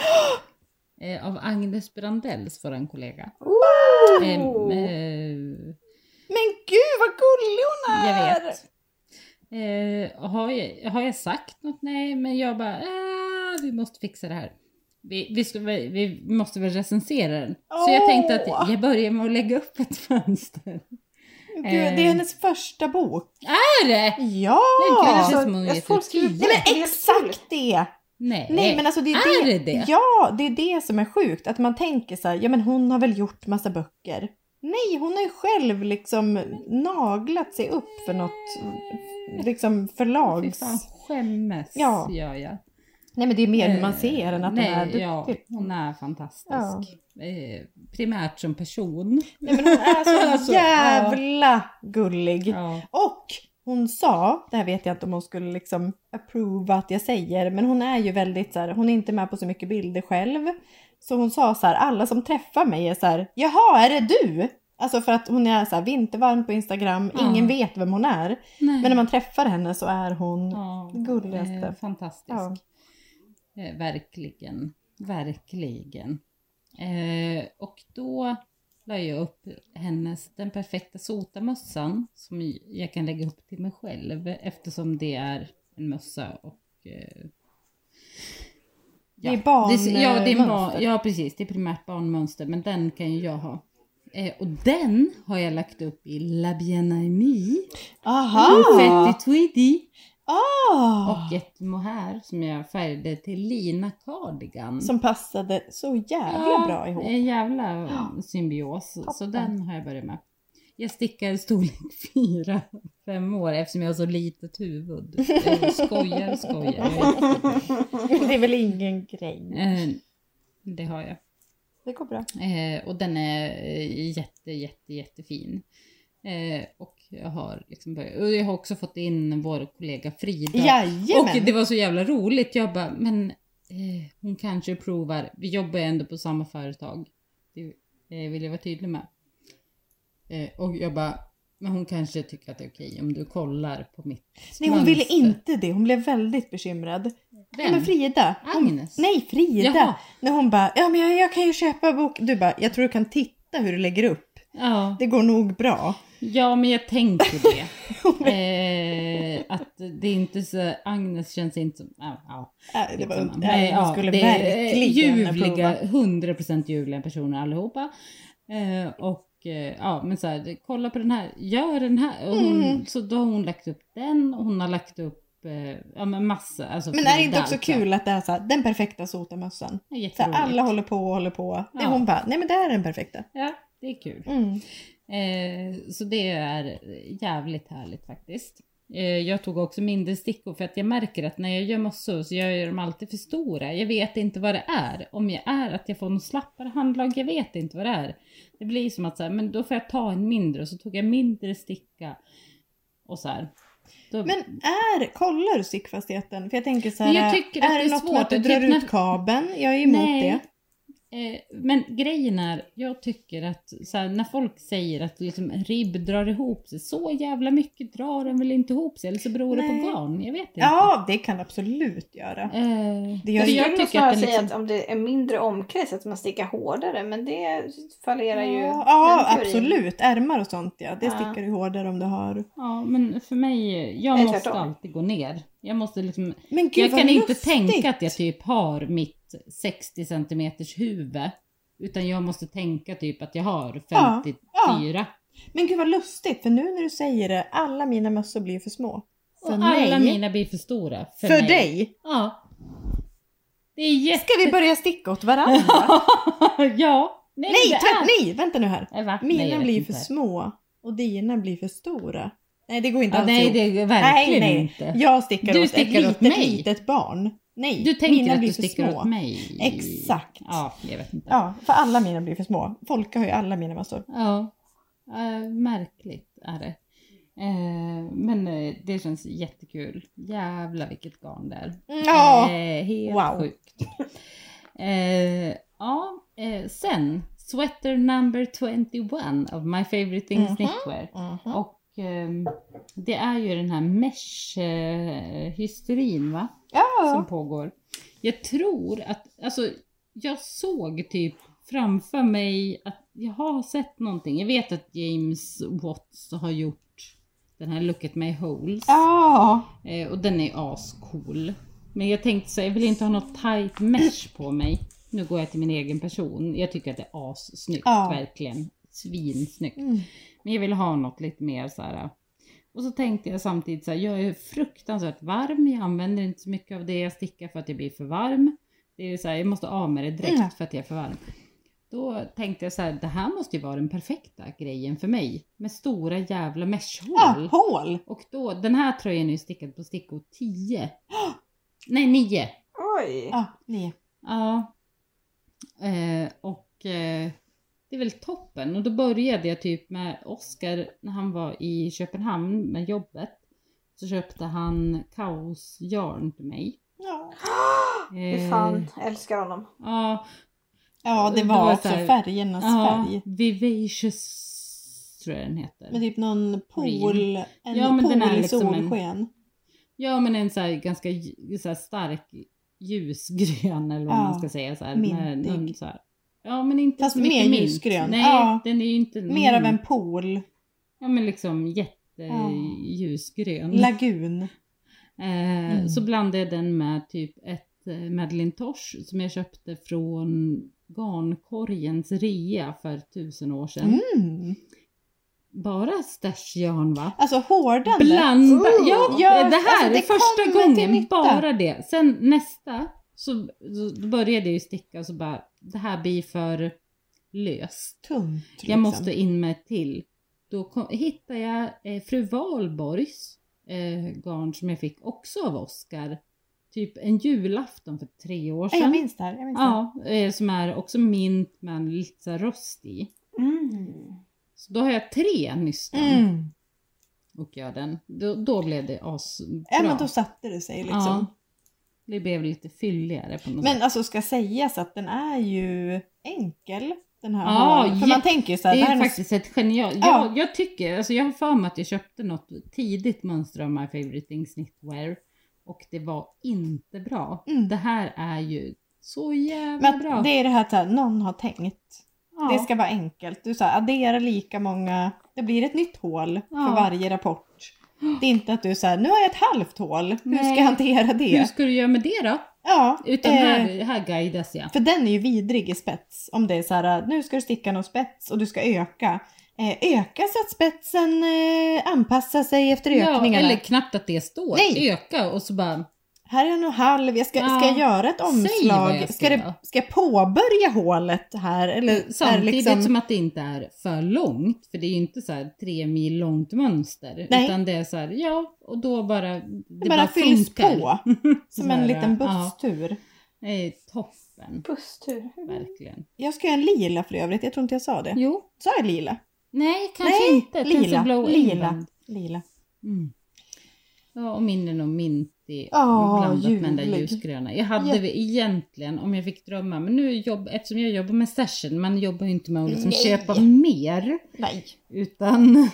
eh, av Agnes Brandells, våran kollega.
Wow!
Eh, eh,
Men gud vad gullig hon är!
Jag vet. Eh, har, jag, har jag sagt något? Nej, men jag bara, "Ah, vi måste fixa det här. Vi, vi, ska, väl- vi måste väl recensera den. Så jag tänkte att
Åh!
jag börjar med att lägga upp ett fönster.
Gud, det är hennes första bok.
Är det?
Ja!
Men gud, det
Alltså,
känns som hon
jag-
gett
folk
ut
skulle
tio.
Nej men
Det är
exakt det!
Nej.
Nej men alltså det är,
är det det?
Ja, det är det som är sjukt. Att man tänker så här, ja men hon har väl gjort massa böcker. Nej, hon har ju själv liksom naglat sig upp för något liksom
Fy
förlags...
fan, skämmes
Ja.
gör jag.
Nej men det är mer hur man
Eh,
ser än att
nej,
hon är duktig.
ja, hon är fantastisk. Eh, primärt som person.
Nej men hon är så
Alltså,
jävla gullig.
Ja.
Och hon sa, det här vet jag inte om hon skulle liksom approva att jag säger, men hon är ju väldigt så här, hon är inte med på så mycket bilder själv. Så hon sa så här, alla som träffar mig är så här, jaha är det du? Alltså för att hon är så här vintervarm på Instagram,
Ja.
ingen vet vem hon är.
Nej.
Men när man träffar henne så är hon,
ja,
gulligaste.
eh, fantastisk.
Ja.
Eh, verkligen. Verkligen. Eh, och då la jag upp hennes Den perfekta sotamössan som j- jag kan lägga upp till mig själv eftersom det är en mössa och eh,
Det är
det, är- ja, det är en
barnmönster.
barn, ja precis, det är primärt barnmönster men den kan ju jag ha. Eh, och den har jag lagt upp i La Bien Amie,
Ah! aha!
Fetti Tweedy
Ah!
och ett mohair som jag färgade till Lina Cardigan.
Som passade så jävla bra ihop.
En jävla symbios. Så
Toppen.
den har jag börjat med. Jag stickar storlek 4, 5 år eftersom jag har så litet huvud. Jag skojar, skojar.
Det är väl ingen grej.
Eh, Det har jag.
Det går bra.
Eh, och den är eh, jätte, jätte, jättefin. Eh, och jag har liksom börjat, och jag har också fått in vår kollega Frida.
Jajamän!
Och det var så jävla roligt. Jag bara, men eh, hon kanske provar. Vi jobbar ju ändå på samma företag. Det eh, vill jag vara tydlig med. Eh, och jag bara, men hon kanske tycker att det är okej om du kollar på mitt
Nej hon ville
mönster."
inte det, hon blev väldigt bekymrad. Nej,
Vem?
men Frida. Hon,
Agnes?
Nej Frida.
Jaha.
När hon bara, ja men jag, jag kan ju köpa bok. Du bara, jag tror du kan titta hur du lägger upp.
Ja.
Det går nog bra.
ja, men jag tänker det. eh, att det är inte så, Agnes känns inte som, ja, ja.
Äh, det var
Skitsamma.
äh,
Liksom. Nej,
hon
ja,
skulle
det är
verkligen
ljuvliga,
prova.
100% ljuvliga personer allihopa. Eh, och eh, ja, men så här, det- kolla på den här, gör den här. Och hon,
Mm.
Så då har hon lagt upp den och hon har lagt upp eh, ja, men massa. Alltså,
Men är det
Frida,
inte också
alltså.
kul att det är så här, den perfekta sotamössan?
Det är
Så här,
jätteroligt.
alla håller på och håller på. Nej,
Ja.
Hon bara, nej men det här är den perfekta.
Ja, det är kul.
Mm.
Eh, så det är jävligt härligt faktiskt. Eh, jag tog också mindre stickor för att jag märker att när jag gör mössor så gör jag dem alltid för stora. Jag vet inte vad det är. Om jag är att jag får något slappare handlag, jag vet inte vad det är. Det blir som att så här, men då får jag ta en mindre och så tog jag mindre sticka. Och så här. Då,
Men är, kollar du stickfastheten? För jag tänker så här,
Men jag tycker att
är
det
det,
är
något
svårt.
med att du
Jag
drar
tycker-
ut kabeln? Jag är emot det.
Eh, men grejen är, jag tycker att så här, när folk säger att liksom, ribb drar ihop sig, så jävla mycket drar den väl inte ihop sig? Eller så beror det
Nej.
på garn, jag vet inte.
Ja, det kan det absolut göra.
Eh,
Det
för
gör
Jag,
ju-
skulle
jag
Alltså, nog
tycker
snarare
att den
säga
liksom,
att om det är mindre omkrets att man stickar hårdare men det fallerar ju.
Ja, ja
den teorin.
absolut. Ärmar och sånt ja. Det
Ja.
sticker du hårdare om du har.
ja, men för mig, jag
Nej,
måste
tvärtom.
alltid gå ner. Jag måste liksom,
Men gud
jag
vad
kan inte
lustigt.
tänka att jag typ har mitt 60 centimeters huvud. Utan jag måste tänka typ att jag har 54.
ja. Men gud vad lustigt. För nu när du säger det, alla mina mössor blir för små.
Och
För
alla
mig.
mina blir för stora. För,
För,
mig.
dig.
Ja. Det är jätte...
Ska vi börja sticka åt varandra?
ja. Nej,
nej,
det
tvärt,
är-
nej, vänta nu här.
Nej, va? Nej, jag
Mina
vet
blir
inte.
för små och dina blir för stora. Nej, det går inte
Ja,
alls
nej,
ihop.
det är verkligen
Alltså. nej.
inte.
Jag stickar
Du
åt
stickar
ett
åt
litet,
mig.
litet barn. Nej,
Du tänker
mina
att
blir
du
för
sticker
små.
åt mig?
Exakt.
Ja, jag vet inte.
Ja, för alla mina blir för små. Folke har ju alla mina mössor.
Ja. Eh, märkligt är det. Eh, men eh, det känns jättekul. Jävla vilket garn det är.
Ja.
Eh, helt
Wow.
sjukt. Eh, ja, eh, sen. Sweater number 21 of my favorite things
Mhm.
knitwear.
Mhm.
Och ehm, det är ju den här mesh-hysterin va? Som
Ja.
pågår. Jag tror att, alltså jag såg typ framför mig att jag har sett någonting. Jag vet att James Watts har gjort den här Look at my holes.
Ja.
Eh, och den är ascool. Men jag tänkte så här, jag vill inte ha något tight mesh på mig. Nu går jag till min egen person. Jag tycker att det är assnyggt,
Ja.
verkligen. Svinsnyggt.
Mm.
Men jag vill ha något lite mer så här. äh. Och så tänkte jag samtidigt så här, jag är fruktansvärt varm, jag använder inte så mycket av det jag stickar för att jag blir för varm. Det är så här, jag måste av med det direkt
Mm.
för att jag är för varm. Då tänkte jag så här, det här måste ju vara den perfekta grejen för mig. Med stora jävla meshhål.
Ja, hål!
Och då, den här tröjan är ju stickad på stickor 10. Nej 9.
Oj!
Ja, nej.
Ja. Eh, och eh, det är väl toppen. Och då började jag typ med Oskar när han var i Köpenhamn med jobbet. Så köpte han kaosjarn till mig.
Ja.
Fy
Eh,
fan, älskar honom.
Ja,
ja, det
Det
var,
var
också
så här-
färgernas
ja
färg.
Vivacious tror jag den heter.
Med typ någon pool, en
Ja, men
pool
den är
i
liksom en-
solsken.
Ja men en så här ganska lj- så här stark ljusgrön eller vad
Ja,
man ska säga. Så här,
mintig.
någon så här. Ja men inte
Fast
så mycket
mer
mint.
ljusgrön,
Nej,
ja.
den är ju inte någon
Mer av
mint.
en pool,
Ja men liksom
Ja.
jätteljusgrön.
lagun.
Eh,
Mm.
Så blandade jag den med typ ett eh, Madeleine Tosh som jag köpte från Garnkorgens rea för tusen år sedan.
Mm.
Bara stashjärn va?
Alltså hårdande.
Blanda,
Oh.
ja,
Uh,
eh,
Ja,
det här
alltså, det
är första
kommer till
gången,
nytta.
bara det. Sen nästa så, så började jag ju sticka och så bara, det här blir för löst.
Tunt. liksom.
Jag måste in med ett till. Då kom, hittade jag eh, fru Valborgs eh, garn som jag fick också av Oskar. Typ en julafton för tre år
Ja, jag
sedan.
minns det här. Jag minns det här.
Ja, eh, som är också mint men lite så här rost i.
Mm.
Så då har jag tre nystan
Mm.
och gör den. Då, då blev det asbra.
Ja, men då satte det sig liksom.
Ja. Det blev lite fylligare på något sätt.
Men alltså ska sägas att den är ju enkel den här
Ja,
hålen. För man
jätte-
tänker ju så här,
Det
det här
är
är faktiskt...
faktiskt ett genialt...
Ja.
Jag, jag tycker, alltså jag har för mig att jag köpte något tidigt mönster av My Favorite Things Knitwear och det var inte bra.
Mm.
Det här är ju så jävla
Men
bra.
det är det här att någon har tänkt.
ja.
Det ska vara enkelt. Du så här, addera lika många, det blir ett nytt hål
Ja.
för varje rapport. Det är inte att du säger nu har jag ett halvt hål, hur
Nej.
ska jag hantera det?
Hur ska du göra med det då?
Ja,
Utan
eh,
här, här guidas jag.
För den är ju vidrig i spets. Om det är så här, eh, nu ska du sticka någon spets och du ska öka. Eh, öka så att spetsen eh, anpassar sig efter
Ja,
ökningarna.
eller knappt att det står.
Nej.
Öka och så bara...
Här är någon halv, jag ska,
Ja.
ska jag göra ett
Säg vad
omslag?
jag ska
Ska, det,
göra.
ska jag påbörja hålet här? Eller
Samtidigt
är liksom,
som att det inte är för långt, för det är ju inte så här tre mil långt mönster.
Nej.
Utan det är så här, ja, och då bara... Det,
det bara fylls
funkar.
på. Som en
Sådär,
liten
ja.
busstur.
Det är toppen,
Busstur.
verkligen.
Jag ska göra en lila för övrigt, jag tror inte jag sa det.
Jo,
Sa jag lila?
nej kanske
Nej,
inte.
lila,
Tensor Blow
lila.
England.
Lila.
Mm. Ja, och min är nog mintig
Ja,
blandat med den där
ljuvlig.
ljusgröna. Jag hade
Ja.
väl egentligen, om jag fick drömma, men nu jobb, eftersom jag jobbar med session, man jobbar ju inte med att liksom
Nej.
köpa mer,
Nej.
utan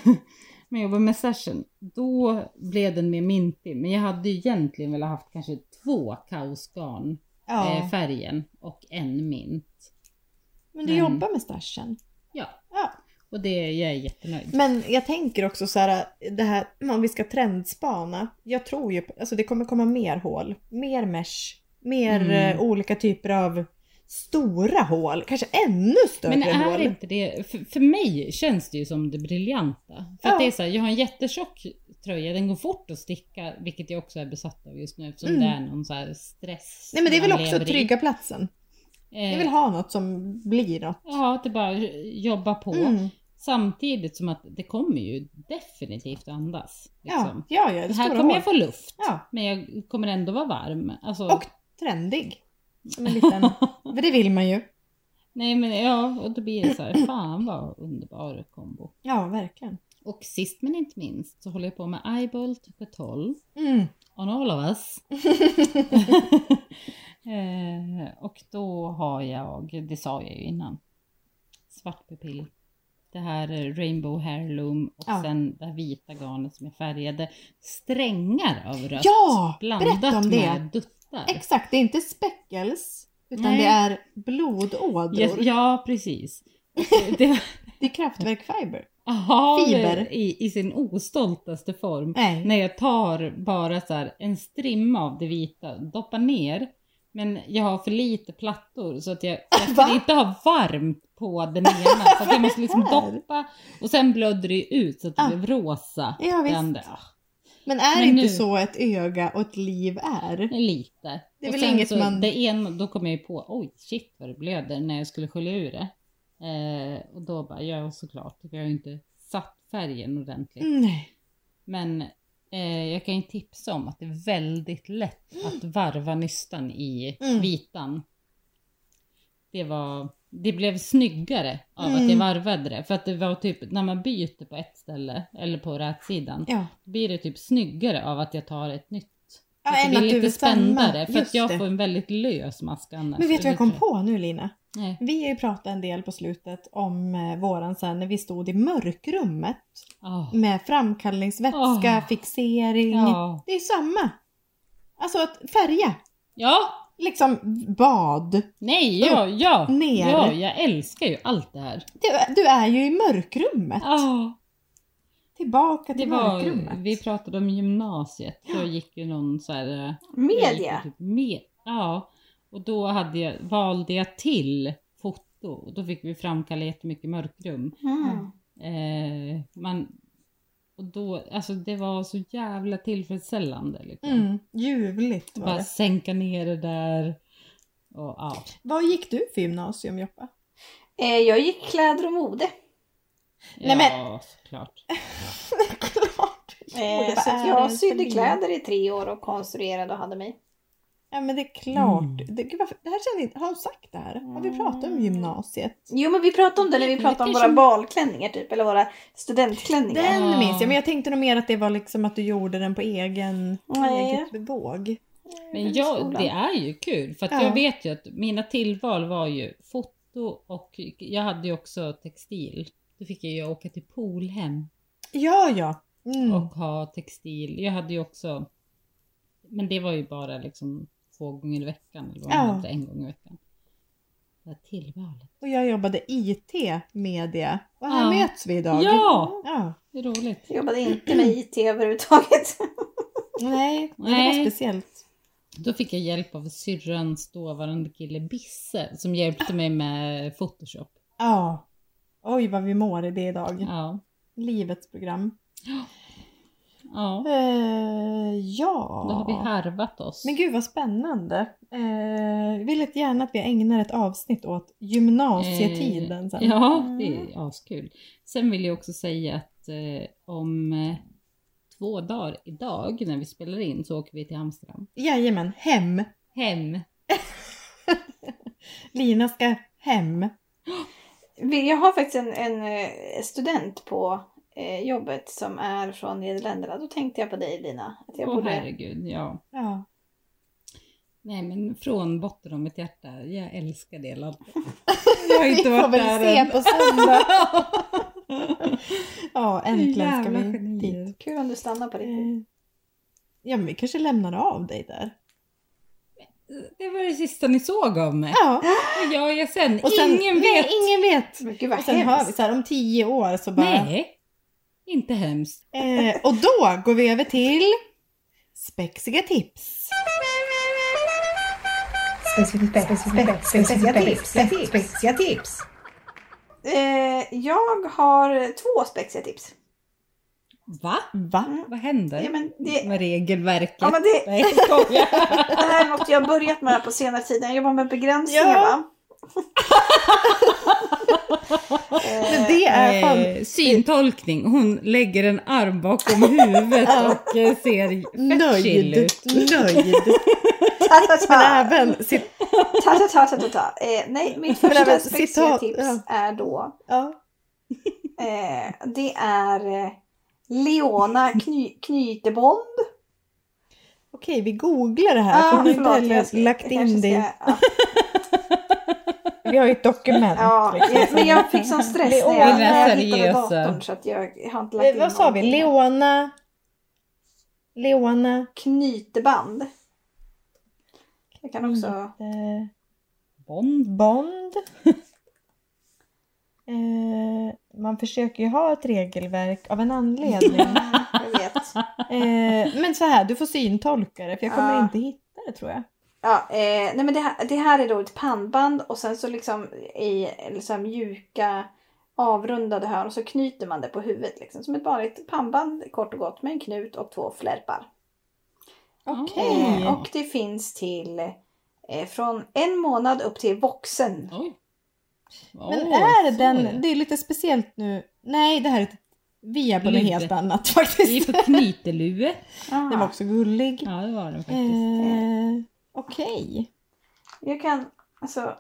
man jobbar med session, då blev den mer mintig. Men jag hade ju egentligen velat haft kanske två kaosgarn,
Ja.
eh, färgen och en mint.
men du
men-
jobbar med staschen.
Ja.
Ja.
Och det, jag är jättenöjd.
Men jag tänker också så här, det här om vi ska trendspana. Jag tror ju, alltså det kommer komma mer hål, mer mesh, mer
Mm.
eh, olika typer av stora hål, kanske ännu större
Men är
hål.
inte det, för, för mig känns det ju som det briljanta. För
Ja.
att det är så här, jag har en jättetjock tröja, den går fort att sticka, vilket jag också är besatt av just nu eftersom
Mm.
det är någon så här stress.
Nej men det är väl
man
också
lever i.
trygga platsen. Jag
Eh,
vill ha något som blir något.
Ja, att det bara jobba på.
Mm.
Samtidigt som att det kommer ju definitivt andas.
Ja,
Liksom.
ja, ja, det
Här
stora
kommer
hål.
jag få luft,
Ja.
men jag kommer ändå vara varm. Alltså,
Och trendig. Som en liten, för det vill man ju.
Nej men ja, och då blir det så här, fan vad underbar kombo.
Ja, verkligen.
Och sist men inte minst så håller jag på med Eyeball Tucker 12
Mm.
on all of us. eh, och då har jag, det sa jag ju innan, svart pupill. Det här eh, rainbow heirloom och
Ja.
sen det här vita garnet som jag färgade strängar av rött.
Ja, berätta
blandat
om det.
med duttar.
Exakt, det är inte speckles, utan
Nej.
det är blodådror.
Ja, ja, precis. Det- det,
Det är kraftverk fiber.
Aha,
Fiber.
det- I, I sin ostoltaste form.
Nej.
När jag tar bara så här en strimma av det vita, doppar ner. Men jag har för lite plattor så att jag, jag
Va?
kan inte ha varmt på den ena. så att jag måste liksom
Vad är det här?
doppa och sen blöder det ju ut så att det
Ah.
blev rosa.
Ja,
det
visst.
andra. Ah,
Men är
Men
inte
nu-
så ett öga och ett liv är?
Lite.
Det är
och
väl
sen
inget
så
man-
Det ena, då kom jag ju på, oj shit vad det blöder när jag skulle skölja ur det. Eh, och då bara, ja såklart, jag har ju inte satt färgen ordentligt.
Nej.
Men eh, jag kan ju tipsa om att det är väldigt lätt att varva nystan i
Mm.
vitan. Det, var, det blev snyggare av att jag
Mm.
varvade det. För att det var typ när man byter på ett ställe eller på rätsidan.
Ja.
Då blir det typ snyggare av att jag tar ett nytt.
Ja,
Att
än
det
att
blir
du
lite
vill stämma.
spändare. För
Just
att jag
det.
får en väldigt lös mask annars.
Men vet du
Och
vad jag
det
kom
tror
på nu Lina?
Nej.
Vi har ju pratat en del på slutet om eh, våran sen när vi stod i mörkrummet
Ah.
med framkallningsvätska,
Åh.
fixering.
Ja.
Det är ju samma. Alltså att färga.
ja,
Liksom bad.
nej, ja, ja.
ner.
Ja, jag älskar ju allt det här.
Du, du är ju i mörkrummet.
Ah.
Tillbaka
Det
till
var,
mörkrummet.
vi pratade om gymnasiet, då gick ju någon så här... eh, jag gick ju
Media.
Typ med, ja, och då hade jag, valde jag till foto och då fick vi framkalla jättemycket mörkrum.
Mm.
Eh, man, och då, alltså det var så jävla tillfredsställande liksom.
Mm, ljuvligt var
Bara
det.
sänka ner det där. Och, ja.
Vad gick du för gymnasium Joppa?
Eh, jag gick kläder och mode.
Nej, men-
ja, såklart.
Klart du gjorde.
Eh,
Vad
så att
är det
jag
för
sydde
liv?
kläder i tre år och konstruerade och hade mig.
Ja men det är klart.
Mm.
Det, gud, varför, det här känner jag inte, har hon sagt det här? Har vi pratat om gymnasiet?
Jo men vi pratade om det när vi
Det
pratade om
verkar
våra
som-
balklänningar typ, eller våra studentklänningar.
Den
Ja.
minns jag, men jag tänkte nog mer att det var liksom att du gjorde den på egen,
Nej.
eget bevåg.
Men
Eller
jag,
skolan.
det är ju kul för att
Ja.
jag vet ju att mina tillval var ju foto och jag hade ju också textil. Då fick jag ju åka till Polhem
Ja, ja. Mm.
och ha textil. Jag hade ju också, men det var ju bara liksom två gånger i veckan eller vad man
Ja.
hade, en gång i veckan. Det här tillvalet,
Och jag jobbade IT, media. Och här
Ja.
möts vi idag.
Ja.
ja.
det är roligt.
Jag jobbade inte med IT överhuvudtaget.
Nej, men det
Nej.
var speciellt.
Då fick jag hjälp av syrrans dåvarande kille Bisse som hjälpte mig med Photoshop.
Ja. Oj vad vi mår i det idag.
Ja.
Livets program.
ja,
Eh, ja.
då har vi harvat oss.
Men gud vad spännande. Eh, vill inte gärna att vi ägnar ett avsnitt åt gymnasietiden sen.
Eh, Ja,
Mm.
det är askul. Sen vill jag också säga att eh, om eh, två dagar idag när vi spelar in så åker vi till Amsterdam.
Jajamän, hem.
Hem!
Lina ska hem.
Vi- Jag har faktiskt en, en eh, student på eh, jobbet som är från Nederländerna. Då tänkte jag på dig Lina. Att jag
Åh
borde...
herregud, ja.
Ja.
Nej men från botten av mitt hjärta, jag älskar det landet. Jag har inte
vi får
varit
väl
där
se
än.
på söndag. ja, äntligen ska
Jävla
vi
genier.
dit.
Kul om du stannar på riktigt.
Eh, Ja, men vi kanske lämnar av dig där.
Det var det sista ni såg av mig.
Ja.
Vad gör jag sen?
Och sen,
Ingen
nej,
vet!
ingen vet.
Men gud vad
Och sen hör vi
hemskt.
så här om tio år så bara...
Nej! Inte hemskt.
Eh, och då går vi över till spexiga tips.
Spetsiga tips, spetsiga tips.
Eh, jag har två spexiga tips.
Va?
Va?
Vad händer?
Ja, men det,
Med regelverket?
ja, men det,
Nej, jag skojar.
Det här är något jag har börjat med på senare tid. Jag jobbar med begränsningar
Ja.
va?
Men
Eh,
det är fan...
Eh, syntolkning. Hon lägger en arm bakom huvudet och eh, ser fett chill
Nöjd.
ut.
Nöjd. Men
Ta-ta-ta!
även sitt...
Ta-ta-ta-ta-ta! Eh, nej, mitt
Men
första
även
spexiga
citat,
tips
ja.
är då,
Ja.
eh, det är eh, Leona Kny- Knytebom.
Okej, vi googlar det här. för hon har inte heller
Ah, jag ska-
lagt
jag
in
kanske
det.
ska-
Vi har ju ett dokument. Liksom.
Ja, ja, men jag fick sån stress när jag, när jag hittade
Leona.
datorn så att jag har inte lagt
Eh,
in
vad sa vi?
någonting.
Leona... Leona...
Knyteband. Jag
Mm.
kan också...
Eh,
Bond.
Bond. eh, man försöker ju ha ett regelverk av en anledning.
Mm.
Jag vet.
eh, men så här, du får syntolka det för jag kommer
Ja.
inte hitta det tror jag.
Ja, eh, nej men det, här, det här är då ett pannband och sen så liksom i liksom mjuka avrundade hörn och så knyter man det på huvudet. Liksom, som ett vanligt pannband kort och gott med en knut och två flärpar.
Okej.
Eh, och det finns till eh, från en månad upp till vuxen.
Oj.
Men
Åh,
är
så
den,
är det.
det är lite speciellt nu. Nej, det här är ett, vi är på något
Lite.
helt annat
Det är
faktiskt.
för knytelue. Ah.
Den var också gullig.
Ja, det var den faktiskt.
Eh, Okej.
Jag kan, alltså, eh,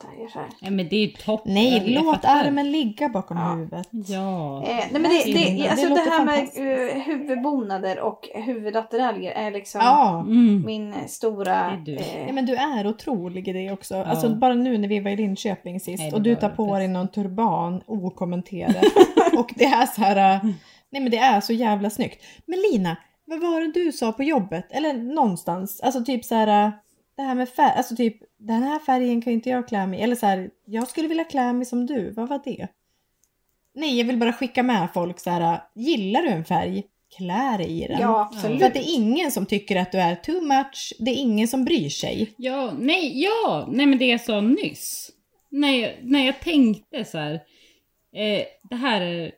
där, jag gör så här.
Nej, men det är ju toppen.
Nej,
Jag
låt
fattar.
armen ligga bakom
Ja.
huvudet.
Ja.
Eh, nej men det, det,
Det
alltså det,
låter
här med
fantastiskt.
eh, huvudbonader och huvudattiraljer är liksom
Ja.
Mm.
min stora...
Det är du.
eh,
Ja, men du är otrolig i det också. Alltså bara nu när vi var i Linköping sist
Nej, det
och du
var
tar
det
på
bästa.
dig någon turban okommenterat. och det är så här, äh, nej men det är så jävla snyggt. Men Lina, vad var det du sa på jobbet? Eller någonstans, alltså typ så här, äh, det här med färg, alltså typ den här färgen kan ju inte jag klä mig i." Eller så här, jag skulle vilja klä mig som du, vad var det? Nej, jag vill bara skicka med folk så här, äh, gillar du en färg? Klä dig i den.
ja,
För
absolut.
att det är ingen som tycker att du är too much, det är ingen som bryr sig.
Ja, nej, ja, nej men det jag sa nyss. När jag, när jag tänkte så här. Eh, det här är,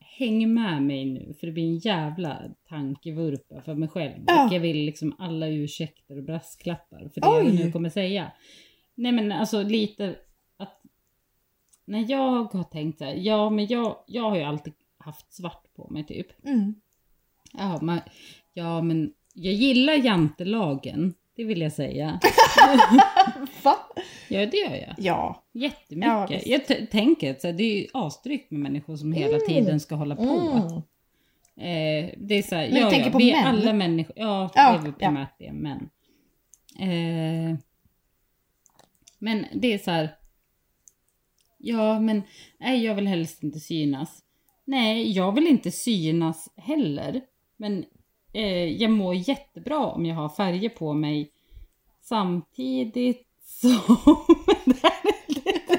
häng med mig nu för det blir en jävla tankevurpa för mig själv.
Ja.
Och jag vill liksom alla ursäkter och brasklappar för det jag
Oj.
nu kommer säga. Nej men alltså lite att när jag har tänkt så här, ja men jag, jag har ju alltid haft svart på mig typ.
Mm.
Ja, man, ja men jag gillar jantelagen, det vill jag säga.
Va?
Ja, det gör jag.
Ja. Ja,
Jättemycket.
visst.
jag t- tänker att så här, det är ju asdrygt med människor som hela
Mm.
tiden ska hålla på.
Mm.
Eh, det är så här,
du
ja,
tänker
ja,
på
vi
män?
är alla människor. Ja,
Ja,
det är väl primärt det, men. Eh, men det är så här. Ja, men nej, jag vill helst inte synas. Nej, jag vill inte synas heller. Men eh, jag mår jättebra om jag har färger på mig samtidigt som...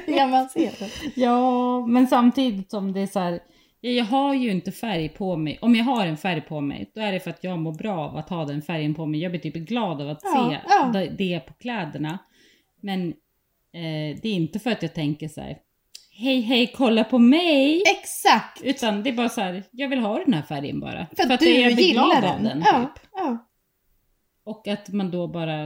Ja, man ser det.
Ja, men samtidigt som det är så här. ja, Jag har ju inte färg på mig. Om jag har en färg på mig, då är det för att jag mår bra av att ha den färgen på mig. Jag blir typ glad av att
Ja,
se
ja.
det- det på kläderna. Men eh, det är inte för att jag tänker så här. Hej, hej, kolla på mig!
Exakt!
Utan det är bara så här, jag vill ha den här färgen bara.
För att, du
jag blir
gillar
glad av
den.
typ.
ja, ja.
Och att man då bara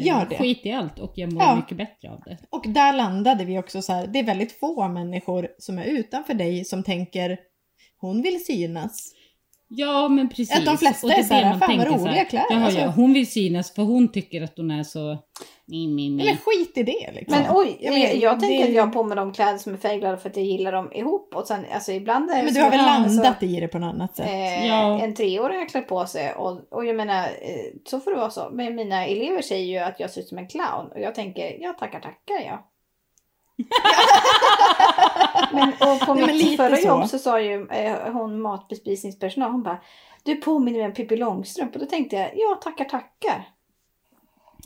Gör
eh,
det.
skiter i allt och jag mår
Ja.
mycket bättre av det.
Och där landade vi också så här, det är väldigt få människor som är utanför dig som tänker hon vill synas.
Ja men precis.
Att de flesta
det
är såhär,
man
"Fan, vad
tänker
roliga kläder",
Jaha,
alltså.
ja, hon vill synas för hon tycker att hon är så... Mi, mi, mi.
Eller skit i det liksom.
Men oj,
Ja,
jag,
men
jag,
det-
tänker att jag har på mig de kläder som är färgglada för att jag gillar dem ihop. Och sen, alltså ibland är det
men du
så-
har väl
alltså,
landat i det på något annat sätt?
Eh,
Ja.
En treåring har klätt på sig och, och jag menar, eh, så får det vara så. Men mina elever säger ju att jag ser ut som en clown och jag tänker, ja tackar tackar ja. men och på
Nej, men lite
mitt förra
så.
jobb så sa ju eh, hon matbespisningspersonal, hon bara, du påminner mig om Pippi Långstrump och då tänkte jag, ja tackar tackar.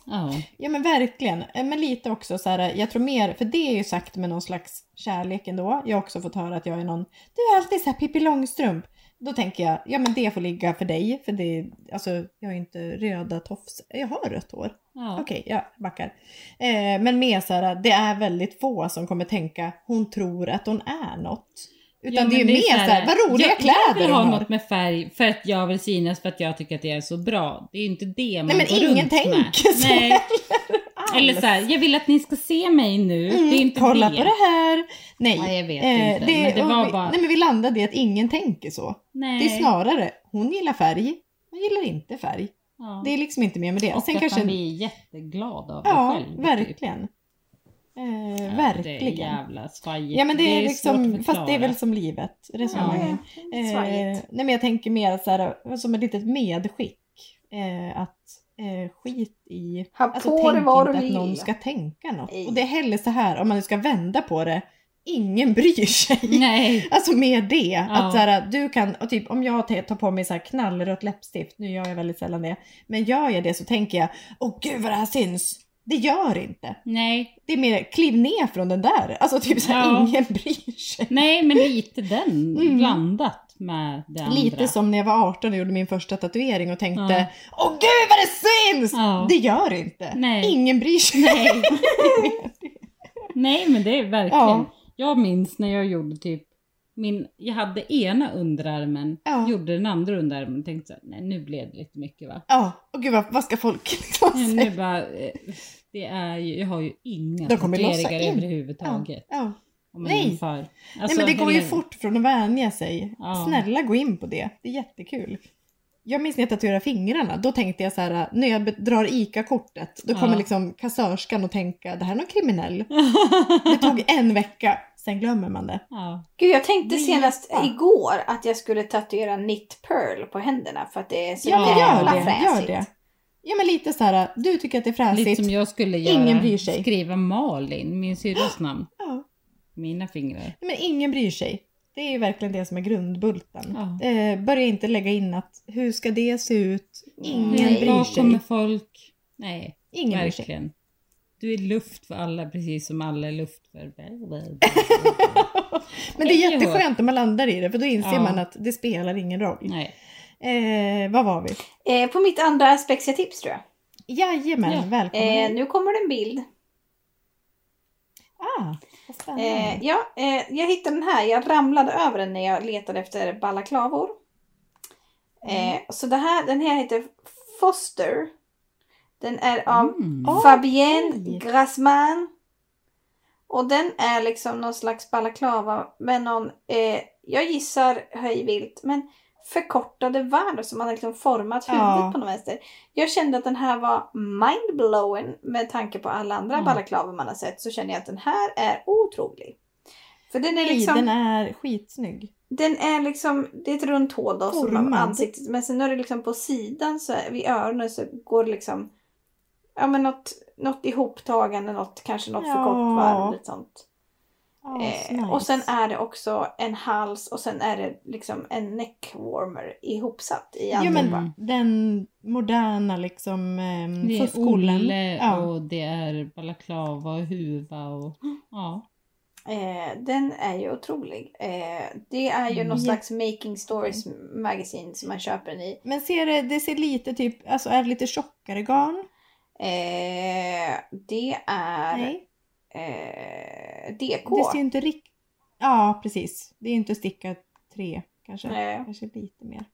Ja.
Ja men verkligen. Eh, Men lite också så här, eh, jag tror mer, för det är ju sagt med någon slags kärlek ändå. Jag har också fått höra att jag är någon, du är alltid så här Pippi Långstrump. Då tänker jag, ja men det får ligga för dig, för det, alltså jag har ju inte röda tofs, jag har rött hår.
Ja.
Okej, jag backar. Eh, men mer så här, det är väldigt få som kommer tänka, hon tror att hon är något. Utan
Ja, men
det är ju mer så
såhär,
här, vad roliga
jag,
kläder
Jag vill
hon
ha
har.
något med färg för att jag vill synas för att jag tycker att jag är så bra. Det är ju inte det man
Nej men
går
ingen
runt med.
tänker så
Nej.
heller
Eller
alls.
såhär, jag vill att ni ska se mig nu.
Mm,
det är inte
kolla
det.
på det här. Nej,
Nej, jag vet
Eh,
inte.
det,
men det var
och vi,
bara...
nej men vi landade i att ingen tänker så.
nej.
Det är snarare, hon gillar färg, hon gillar inte färg.
Ja.
Det är liksom inte mer med det.
och
Sen
att
kanske...
man blir jätteglad av det
ja,
själv. typ.
verkligen. Eh,
Ja,
verkligen.
Det är jävla svajigt.
Ja men det
svårt
är, liksom,
att
fast det är
förklara.
väl som livet, resonemangen.
Ja,
eh, nej
svajigt.
men jag tänker mer så här, som ett litet medskick. Eh, att eh, skit i,
Ha
alltså
på dig
tänk
vad du
inte att någon
vill.
ska tänka något.
Nej.
Och det är heller så här, om man nu ska vända på det, ingen bryr sig.
Nej.
Alltså mer det. Att
Ja.
så här, du kan, och typ om jag te- tar på mig så här knallrött läppstift, nu gör jag väldigt sällan det, men gör jag det så tänker jag, åh gud vad det här syns. Det gör inte.
Nej,
Det är mer kliv ner från den där. Alltså typ så här,
Ja.
ingen bryr sig.
nej men lite den
Mm.
blandat med det andra.
Lite som när jag var 18 och gjorde min första tatuering och tänkte
Ja.
Åh gud vad det syns!
Ja.
Det gör inte.
Nej.
Ingen bryr sig.
Nej. Nej men det är verkligen.
Ja.
Jag minns när jag gjorde typ min, jag hade ena underarmen,
Ja.
gjorde den andra underarmen och tänkte såhär, nej nu blev det lite mycket va.
Ja, och gud vad, vad ska folk liksom
Men
säga?
nu bara, eh, det är ju, jag har ju inga
De kommer lossa
tatueringar
in. Ja,
överhuvudtaget.
ja.
Om man
Nej.
jämför.
Nej
Alltså,
men det går ju
eller-
fort från att vänja sig.
Ja.
Snälla gå in på det. Det är jättekul. Jag minns när jag tatuerade fingrarna. Då tänkte jag så här, när jag be- drar ICA-kortet, då
Ja.
kommer liksom kassörskan och tänka, det här är någon kriminell. Det tog en vecka, sen glömmer man det.
ja.
Gud, jag tänkte
Det är
senast
jättebra.
igår att jag skulle tatuera knit pearl på händerna för att det är så
Ja, men
jävla
gör det, gör
fräsigt.
det. Ja men lite så här, du tycker att det är
Lite
fräsigt.
som jag skulle göra.
Ingen bryr sig.
Skriva Malin, min syrras namn.
Ja.
Mina fingrar.
Nej, Men ingen bryr sig. Det är ju verkligen det som är grundbulten.
Ja.
Eh, börja inte lägga in att hur ska det se ut? Ingen
Nej.
bryr
Vad
sig.
kommer folk? Nej.
Ingen bryr sig.
Verkligen. Du är luft för alla precis som alla är luft för
Men det är
Hej och hå.
jätteskönt om man landar i det för då inser
Ja.
man att det spelar ingen roll.
Nej.
Eh, vad var vi?
Eh, på mitt andra spexiatips tror jag.
Jajamän,
Ja.
välkommen
Eh,
hit.
nu kommer det en bild.
Ah, vad spännande.
Eh, ja, eh, jag hittade den här. Jag ramlade över den när jag letade efter balaklavor.
Mm.
Eh, så det här, den här heter Foster. Den är av
Mm.
Åh,
Fabienne
okej.
Grassman. Och den är liksom någon slags balaklava med någon, eh, jag gissar höj vilt, men förkortade varv som man liksom format huvudet
Ja.
på något vänster. Jag kände att den här var mindblowing med tanke på alla andra
Mm.
balaklavor man har sett så känner jag att den här är otrolig. För den är
Nej,
liksom,
Den är skitsnygg.
den är liksom, det är ett runt hål då som
Formad.
man ansiktet, men sen är det liksom på sidan så här, vid öronen så går det liksom, ja men något, något ihoptagande, något, kanske något
Ja.
för kort varv eller sånt.
Ah, så
eh,
nice.
Och sen är det också en hals och sen är det liksom en neckwarmer ihopsatt i
Jo,
andra
men
varv.
den moderna liksom ehm,
Det är
fuffkollen.
Olle
Ja.
och det är balaklava och huva och ja.
Eh, den är ju otrolig. Eh, det är ju någon
Jätte-
slags Making Stories magasin som man köper den i.
Men ser det, det ser lite typ, alltså är det lite tjockare garn?
Eh, det är
Nej,
eh, DK.
det ser ju inte riktigt... Ja, precis. Det är ju inte sticka tre kanske.
Nej.
Kanske lite mer.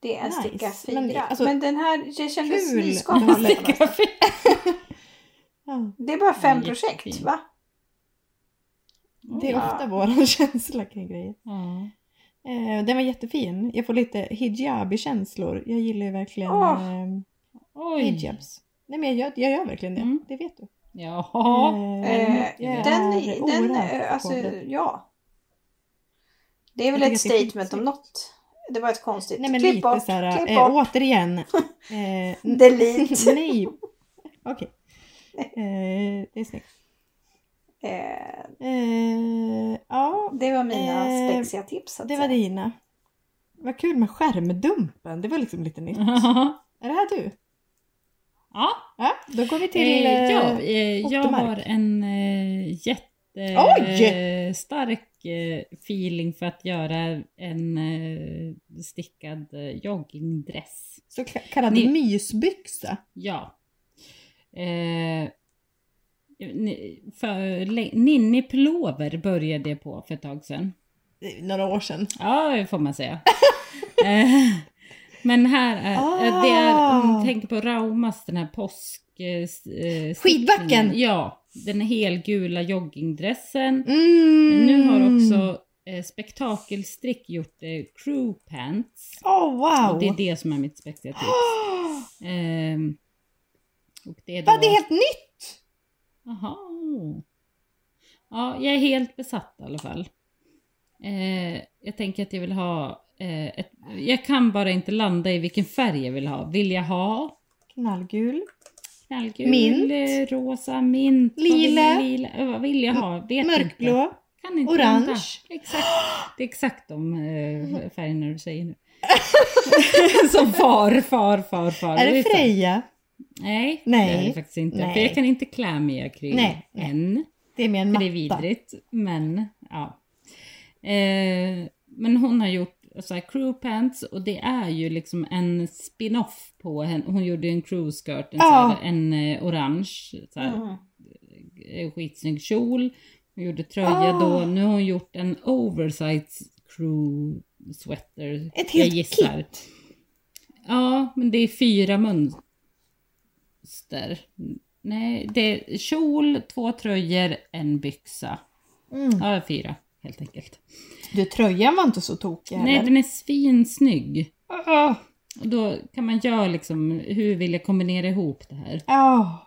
Det är en
Nice.
sticka fyra.
Men
Men,
alltså,
den här det kändes
kul.
nyskapande. på något sätt.
Ja,
Det är bara fem
Ja, jättefin.
projekt va?
det är
Ja.
ofta vår känsla kring grejer.
Ja.
Eh, den var jättefin. Jag får lite hijabi-känslor. Jag gillar ju verkligen
Åh.
ehm,
Oj.
hijabs. Nej men jag gör, jag gör verkligen det.
Mm.
Det vet du.
Ja.
Eh,
jag är
den, den,
oerhört
eh, alltså,
på det.
ja. Det är väl
Jag
ett
tycker att det är
statement om något. Det var ett konstigt.
Nej men
klipp
lite
bort,
så här,
klipp
eh,
bort.
återigen. Eh, n-
Delete.
nej. Okej. Eh, det är snyggt.
Eh,
Eh, ja,
det var mina
Eh,
spexiga tips. så att
det var
säga.
dina. Vad kul med skärmdumpen. Det var liksom lite
Mm.
nytt. Är det här du?
ja.
Ja, då går vi till...
Till, eh,
eh,
ja, eh, jag
Ottomark.
har en eh,
Oj!
jättestark eh, feeling för att göra en eh, stickad eh, joggingdress.
Så ka- kallad
Ni-
mysbyxa.
Ja. Eh, ni- för, le- Ninni Plover började jag på för ett tag sedan.
Det är Några år sedan.
Ja, det får man säga. eh, men här är, eh, det är, om
Ah.
du tänker på Raumas, den här påsk... Eh, s- eh,
Skidbacken!
stickningen. Ja, den helgula joggingdressen.
Mm.
Nu har också eh, Spektakelstrick gjort eh, crew pants.
Åh Oh, wow!
Och det är det som är mitt spektakel.
Åh,
Ehm, och det är då...
Vad det är helt nytt!
Aha. Ja, jag är helt besatt i alla fall. Eh, jag tänker att jag vill ha... Eh, ett, jag kan bara inte landa i vilken färg jag vill ha. Vill jag ha
Knallgul.
knallgul,
Mint.
eh, rosa, mint, vad
Lila.
vill, lila eh, vad vill jag ha? Vet Inte.
Mörkblå.
Kan inte
Orange.
landa. Exakt. Det är exakt de eh, färgerna du säger nu. Som far, far, far, far.
Är
Det
det
så.
Freja?
Nej,
Nej.
det är det faktiskt inte.
Nej.
För jag kan inte klä mig i akryl
Nej, nej.
än.
Det är mer en
För
matta.
det är vidrigt. Men ja. Eh, men hon har gjort så här, crew pants och det är ju liksom en spin-off på henne. Hon gjorde ju en crew skirt, en, så
Ja.
här, en eh, orange så
Mm.
här, eh, skitsnygg kjol. Hon gjorde tröja
Ah.
då. Nu har hon gjort en oversized crew sweater.
Ett helt
jag gissar. Ja, men det är fyra mönster. Nej, det är kjol, två tröjor, en byxa.
Mm.
Ja, fyra helt enkelt.
Du, tröjan var inte så tokig
Nej,
heller.
den är svinsnygg. Och då kan man göra liksom, hur vill jag kombinera ihop det här?
Ja,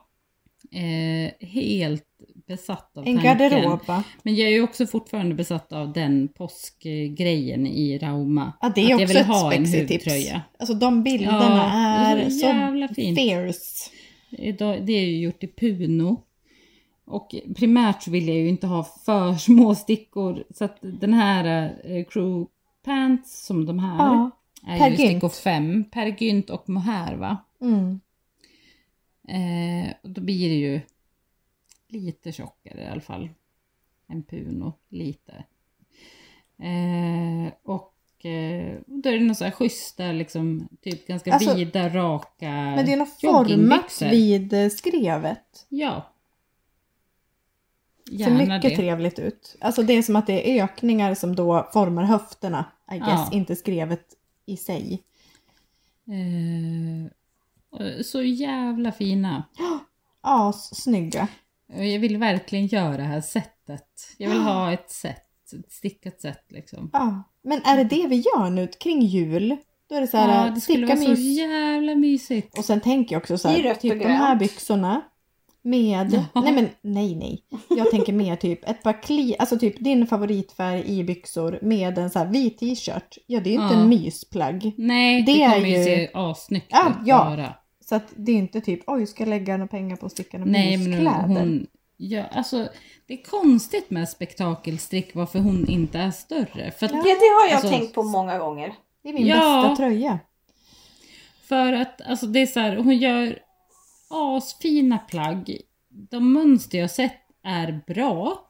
Eh, helt besatt av
en
tanken.
garderob va?
Men jag är ju också fortfarande besatt av den påskgrejen i Rauma.
Ja, det är
att jag
också
vill
ett
ha en
spexigt tips.
huvudtröja.
Alltså de bilderna
Ja, det
är
är så jävla
så
fint.
fierce.
Idag- Det är ju gjort i puno. Och primärt så vill jag ju inte ha för små stickor. Så att den här eh, crew pants som de här
Ja.
är
Per
ju
Gynt.
stickor 5. Per Gynt och mohair va?
Mm.
Eh, och då blir det ju lite tjockare i alla fall. En puno, lite. Eh, och eh, då är det några så här schyssta, liksom, typ ganska
Alltså,
vida, raka
Men det är något format
joggingbyxor.
vid eh, skrevet.
Ja.
Ser
Gärna
mycket
det.
trevligt ut. Alltså det är som att det är ökningar som då formar höfterna. I guess,
Ja.
inte skrevet i sig.
Eh, och så jävla fina.
Assnygga.
Och Jag vill verkligen göra det här sättet. Jag vill ha ett sätt, ett stickat sätt liksom.
Ja. Men är det det vi gör nu kring jul? Då är det så här,
Ja, det skulle
äh, sticka
vara så
mys.
jävla mysigt.
Och sen tänker jag också så
I
här,
rött och
typ de
grönt.
här byxorna med, nej men nej nej. Jag tänker mer typ ett par kli, alltså typ din favoritfärg i byxor med en så här vit t-shirt. Ja det är ju inte
Ja.
en mysplagg.
Nej, det,
Det är
kommer ju
ju-
se assnyggt
Ja,
ut
ja.
bara.
Så att det är inte typ oj ska jag lägga några pengar på att sticka några
Nej, men
myskläder.
hon... hon ja, alltså, det är konstigt med spektakelstrick varför hon inte är större. För att
Ja, det har jag
Alltså-
tänkt på många gånger.
Det är min
Ja.
bästa tröja.
För att alltså det är så här, hon gör asfina plagg. De mönster jag sett är bra.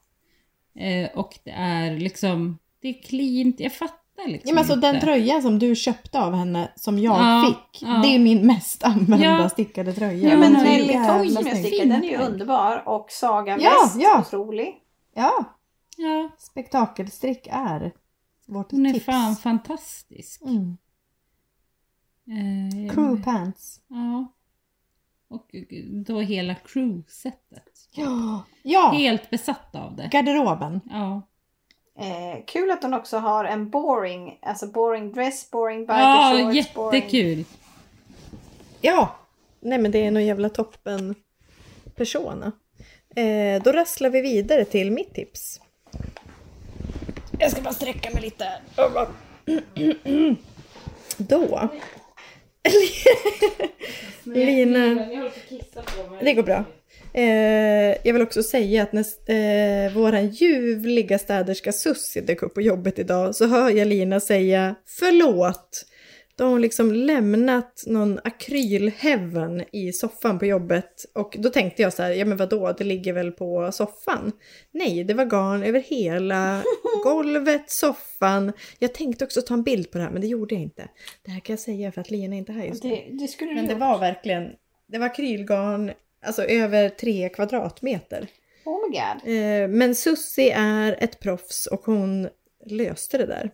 Eh, och det är liksom, det är cleant. Jag fattar liksom
Ja, men alltså den
inte.
tröjan som du köpte av henne som jag
Ja,
fick.
ja.
Det är min mest använda
Ja.
stickade
Ja,
tröja.
Ja, men
men
Det är
Nelly
Nelly
jävla
Toy som jag
snyggt.
stickar, den är ju
Fint.
underbar. Och Saga
Ja,
West,
ja.
otrolig.
Ja,
Ja,
spektakelstrick är vårt
hon är
tips.
fan fantastisk.
Mm.
Eh,
Crew pants.
Ja. Och då hela crew-sättet.
Ja, ja.
Helt besatt av det.
garderoben.
Ja.
Eh, kul att hon också har en boring, alltså boring dress, boring biker
Ja,
shorts, boring...
jättekul.
Ja, nej men det är nog jävla toppen persona. Eh, då rasslar vi vidare till mitt tips. Jag ska bara sträcka mig lite. här. Och bara- Då. Lina. Det går bra. Eh, jag vill också säga att när eh, våran ljuvliga städerska Sussi dök upp på jobbet idag så hör jag Lina säga förlåt. Då har hon liksom lämnat någon akrylheaven i soffan på jobbet och då tänkte jag så här, ja men vadå, det ligger väl på soffan? Nej, det var garn över hela golvet, soffan. Jag tänkte också ta en bild på det här men det gjorde jag inte. Det här kan jag säga för att Lina inte är här just nu.
Det, det skulle
Men
du
det
gjort.
var verkligen, det var akrylgarn, alltså över tre kvadratmeter.
Oh my god.
Eh, Men Sussi är ett proffs och hon löste det där.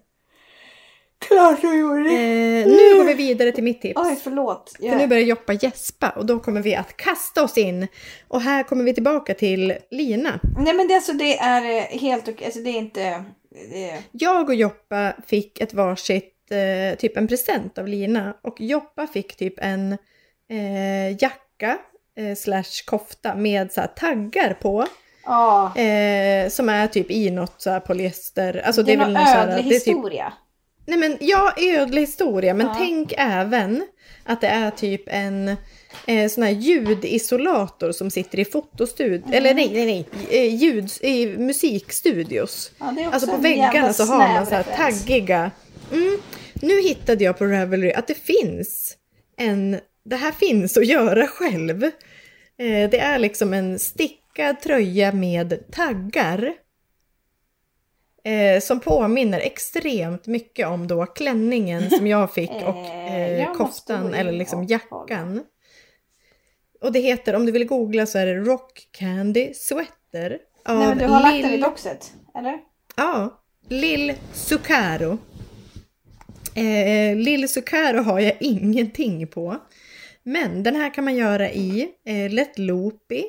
Klart jag gjorde
Eh, nu går vi vidare till mitt tips.
Oj, förlåt. Jag...
För nu börjar Joppa gäspa och då kommer vi att kasta oss in. Och här kommer vi tillbaka till Lina.
Nej men det, alltså, det är eh, helt okej, alltså det är inte... Det...
Jag och Joppa fick ett varsitt, eh, typ en present av Lina. Och Joppa fick typ en eh, jacka eh, slash kofta med så här, taggar på.
Ja.
Eh, som är typ i något så här polyester. Alltså,
det är
väl
någon
någon så här-
ödlig
det är typ,
historia.
Nej men ja, ödlig historia. Men
Ja.
tänk även att det är typ en eh, sån här ljudisolator som sitter i fotostud...
Mm.
Eller nej, nej, nej. eh, Ljud, i musikstudios.
Ja, det är också
Alltså på
en jävla
väggarna så har
snäv
man så här
referens.
taggiga... Mm. Nu hittade jag på Ravelry att det finns en det här finns att göra själv. Eh, det är liksom en stickad tröja med taggar. Eh, som påminner extremt mycket om då klänningen som jag fick och
Eh,
eh,
jag måste gå
koftan
in
eller liksom
och
jackan. Och det heter, om du vill googla så är det Rock Candy Sweater. Av
Nej men du har lagt den i
Lil-
boxet, eller?
Ja, Lill Sukaro. Eh, Lill Sukaro har jag ingenting på. Men den här kan man göra i eh, Let Loopy,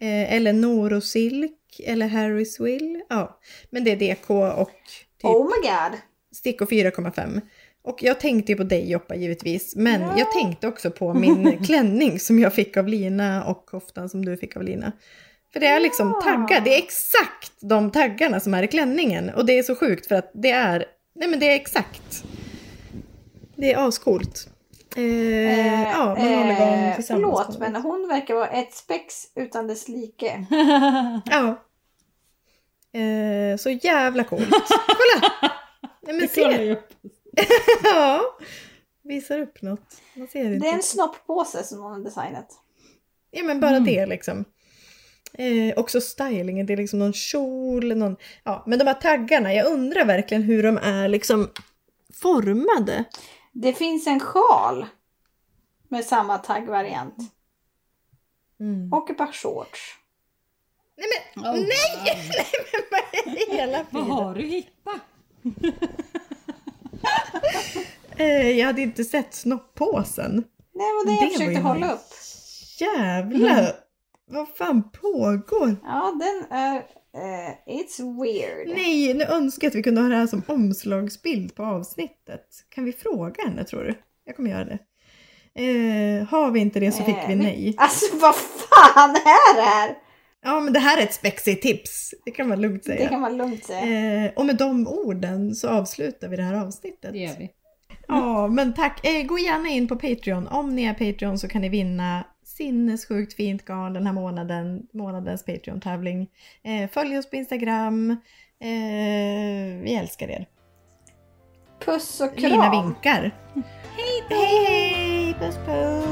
eh, eller Norosilk, eller Harris Will. Ja, men det är DK och typ
Oh my god!
stickor 4,5. Och jag tänkte ju på dig Joppa givetvis, men jag tänkte också på min klänning som jag fick av Lina och koftan som du fick av Lina. För det är liksom
Ja.
taggar, det är exakt de taggarna som är i klänningen. Och det är så sjukt för att det är, nej men det är exakt. Det är ascoolt. Eh, ja, man håller igång tillsammans.
eh, Förlåt men hon verkar vara ett spex utan dess like.
Ja. Eh, så jävla coolt. Kolla! Nej men
Det
se!
kollar ju upp.
Ja, visar upp något. Man ser inte.
Det är en snopppåse som hon har designat.
Ja men bara
Mm.
det liksom. Eh, också stylingen, det är liksom någon kjol, någon... Ja, men de här taggarna, jag undrar verkligen hur de är liksom formade.
Det finns en sjal med samma taggvariant. Och ett par shorts.
Nej men,
Oh,
nej! nej men vad i hela
Vad
friden?
har du hittat?
Eh, jag hade inte sett snoppåsen.
Nej, det var det jag
Det
försökte
var ju
hålla upp.
Jävlar! Vad fan pågår?
Ja, den är... eh, it's weird.
Nej, nu önskar jag att vi kunde ha det här som omslagsbild på avsnittet. Kan vi fråga henne tror du? Jag kommer göra det. Eh, har vi inte det så fick
Eh,
vi
vi-
nej.
Alltså vad fan är det här?
Ja, men det här är ett spexigt tips. Det kan man lugnt
Det
säga.
kan man lugnt säga.
Eh, och med de orden så avslutar vi det här avsnittet.
Det gör vi.
Ja, men tack. Eh, gå gärna in på Patreon. Om ni är Patreon så kan ni vinna sinnessjukt fint garn den här månaden. Månadens Patreon-tävling. Eh, följ oss på Instagram. Eh, vi älskar er.
Puss och kram.
Lina vinkar. Hej då! Hej, hej! Puss, puss!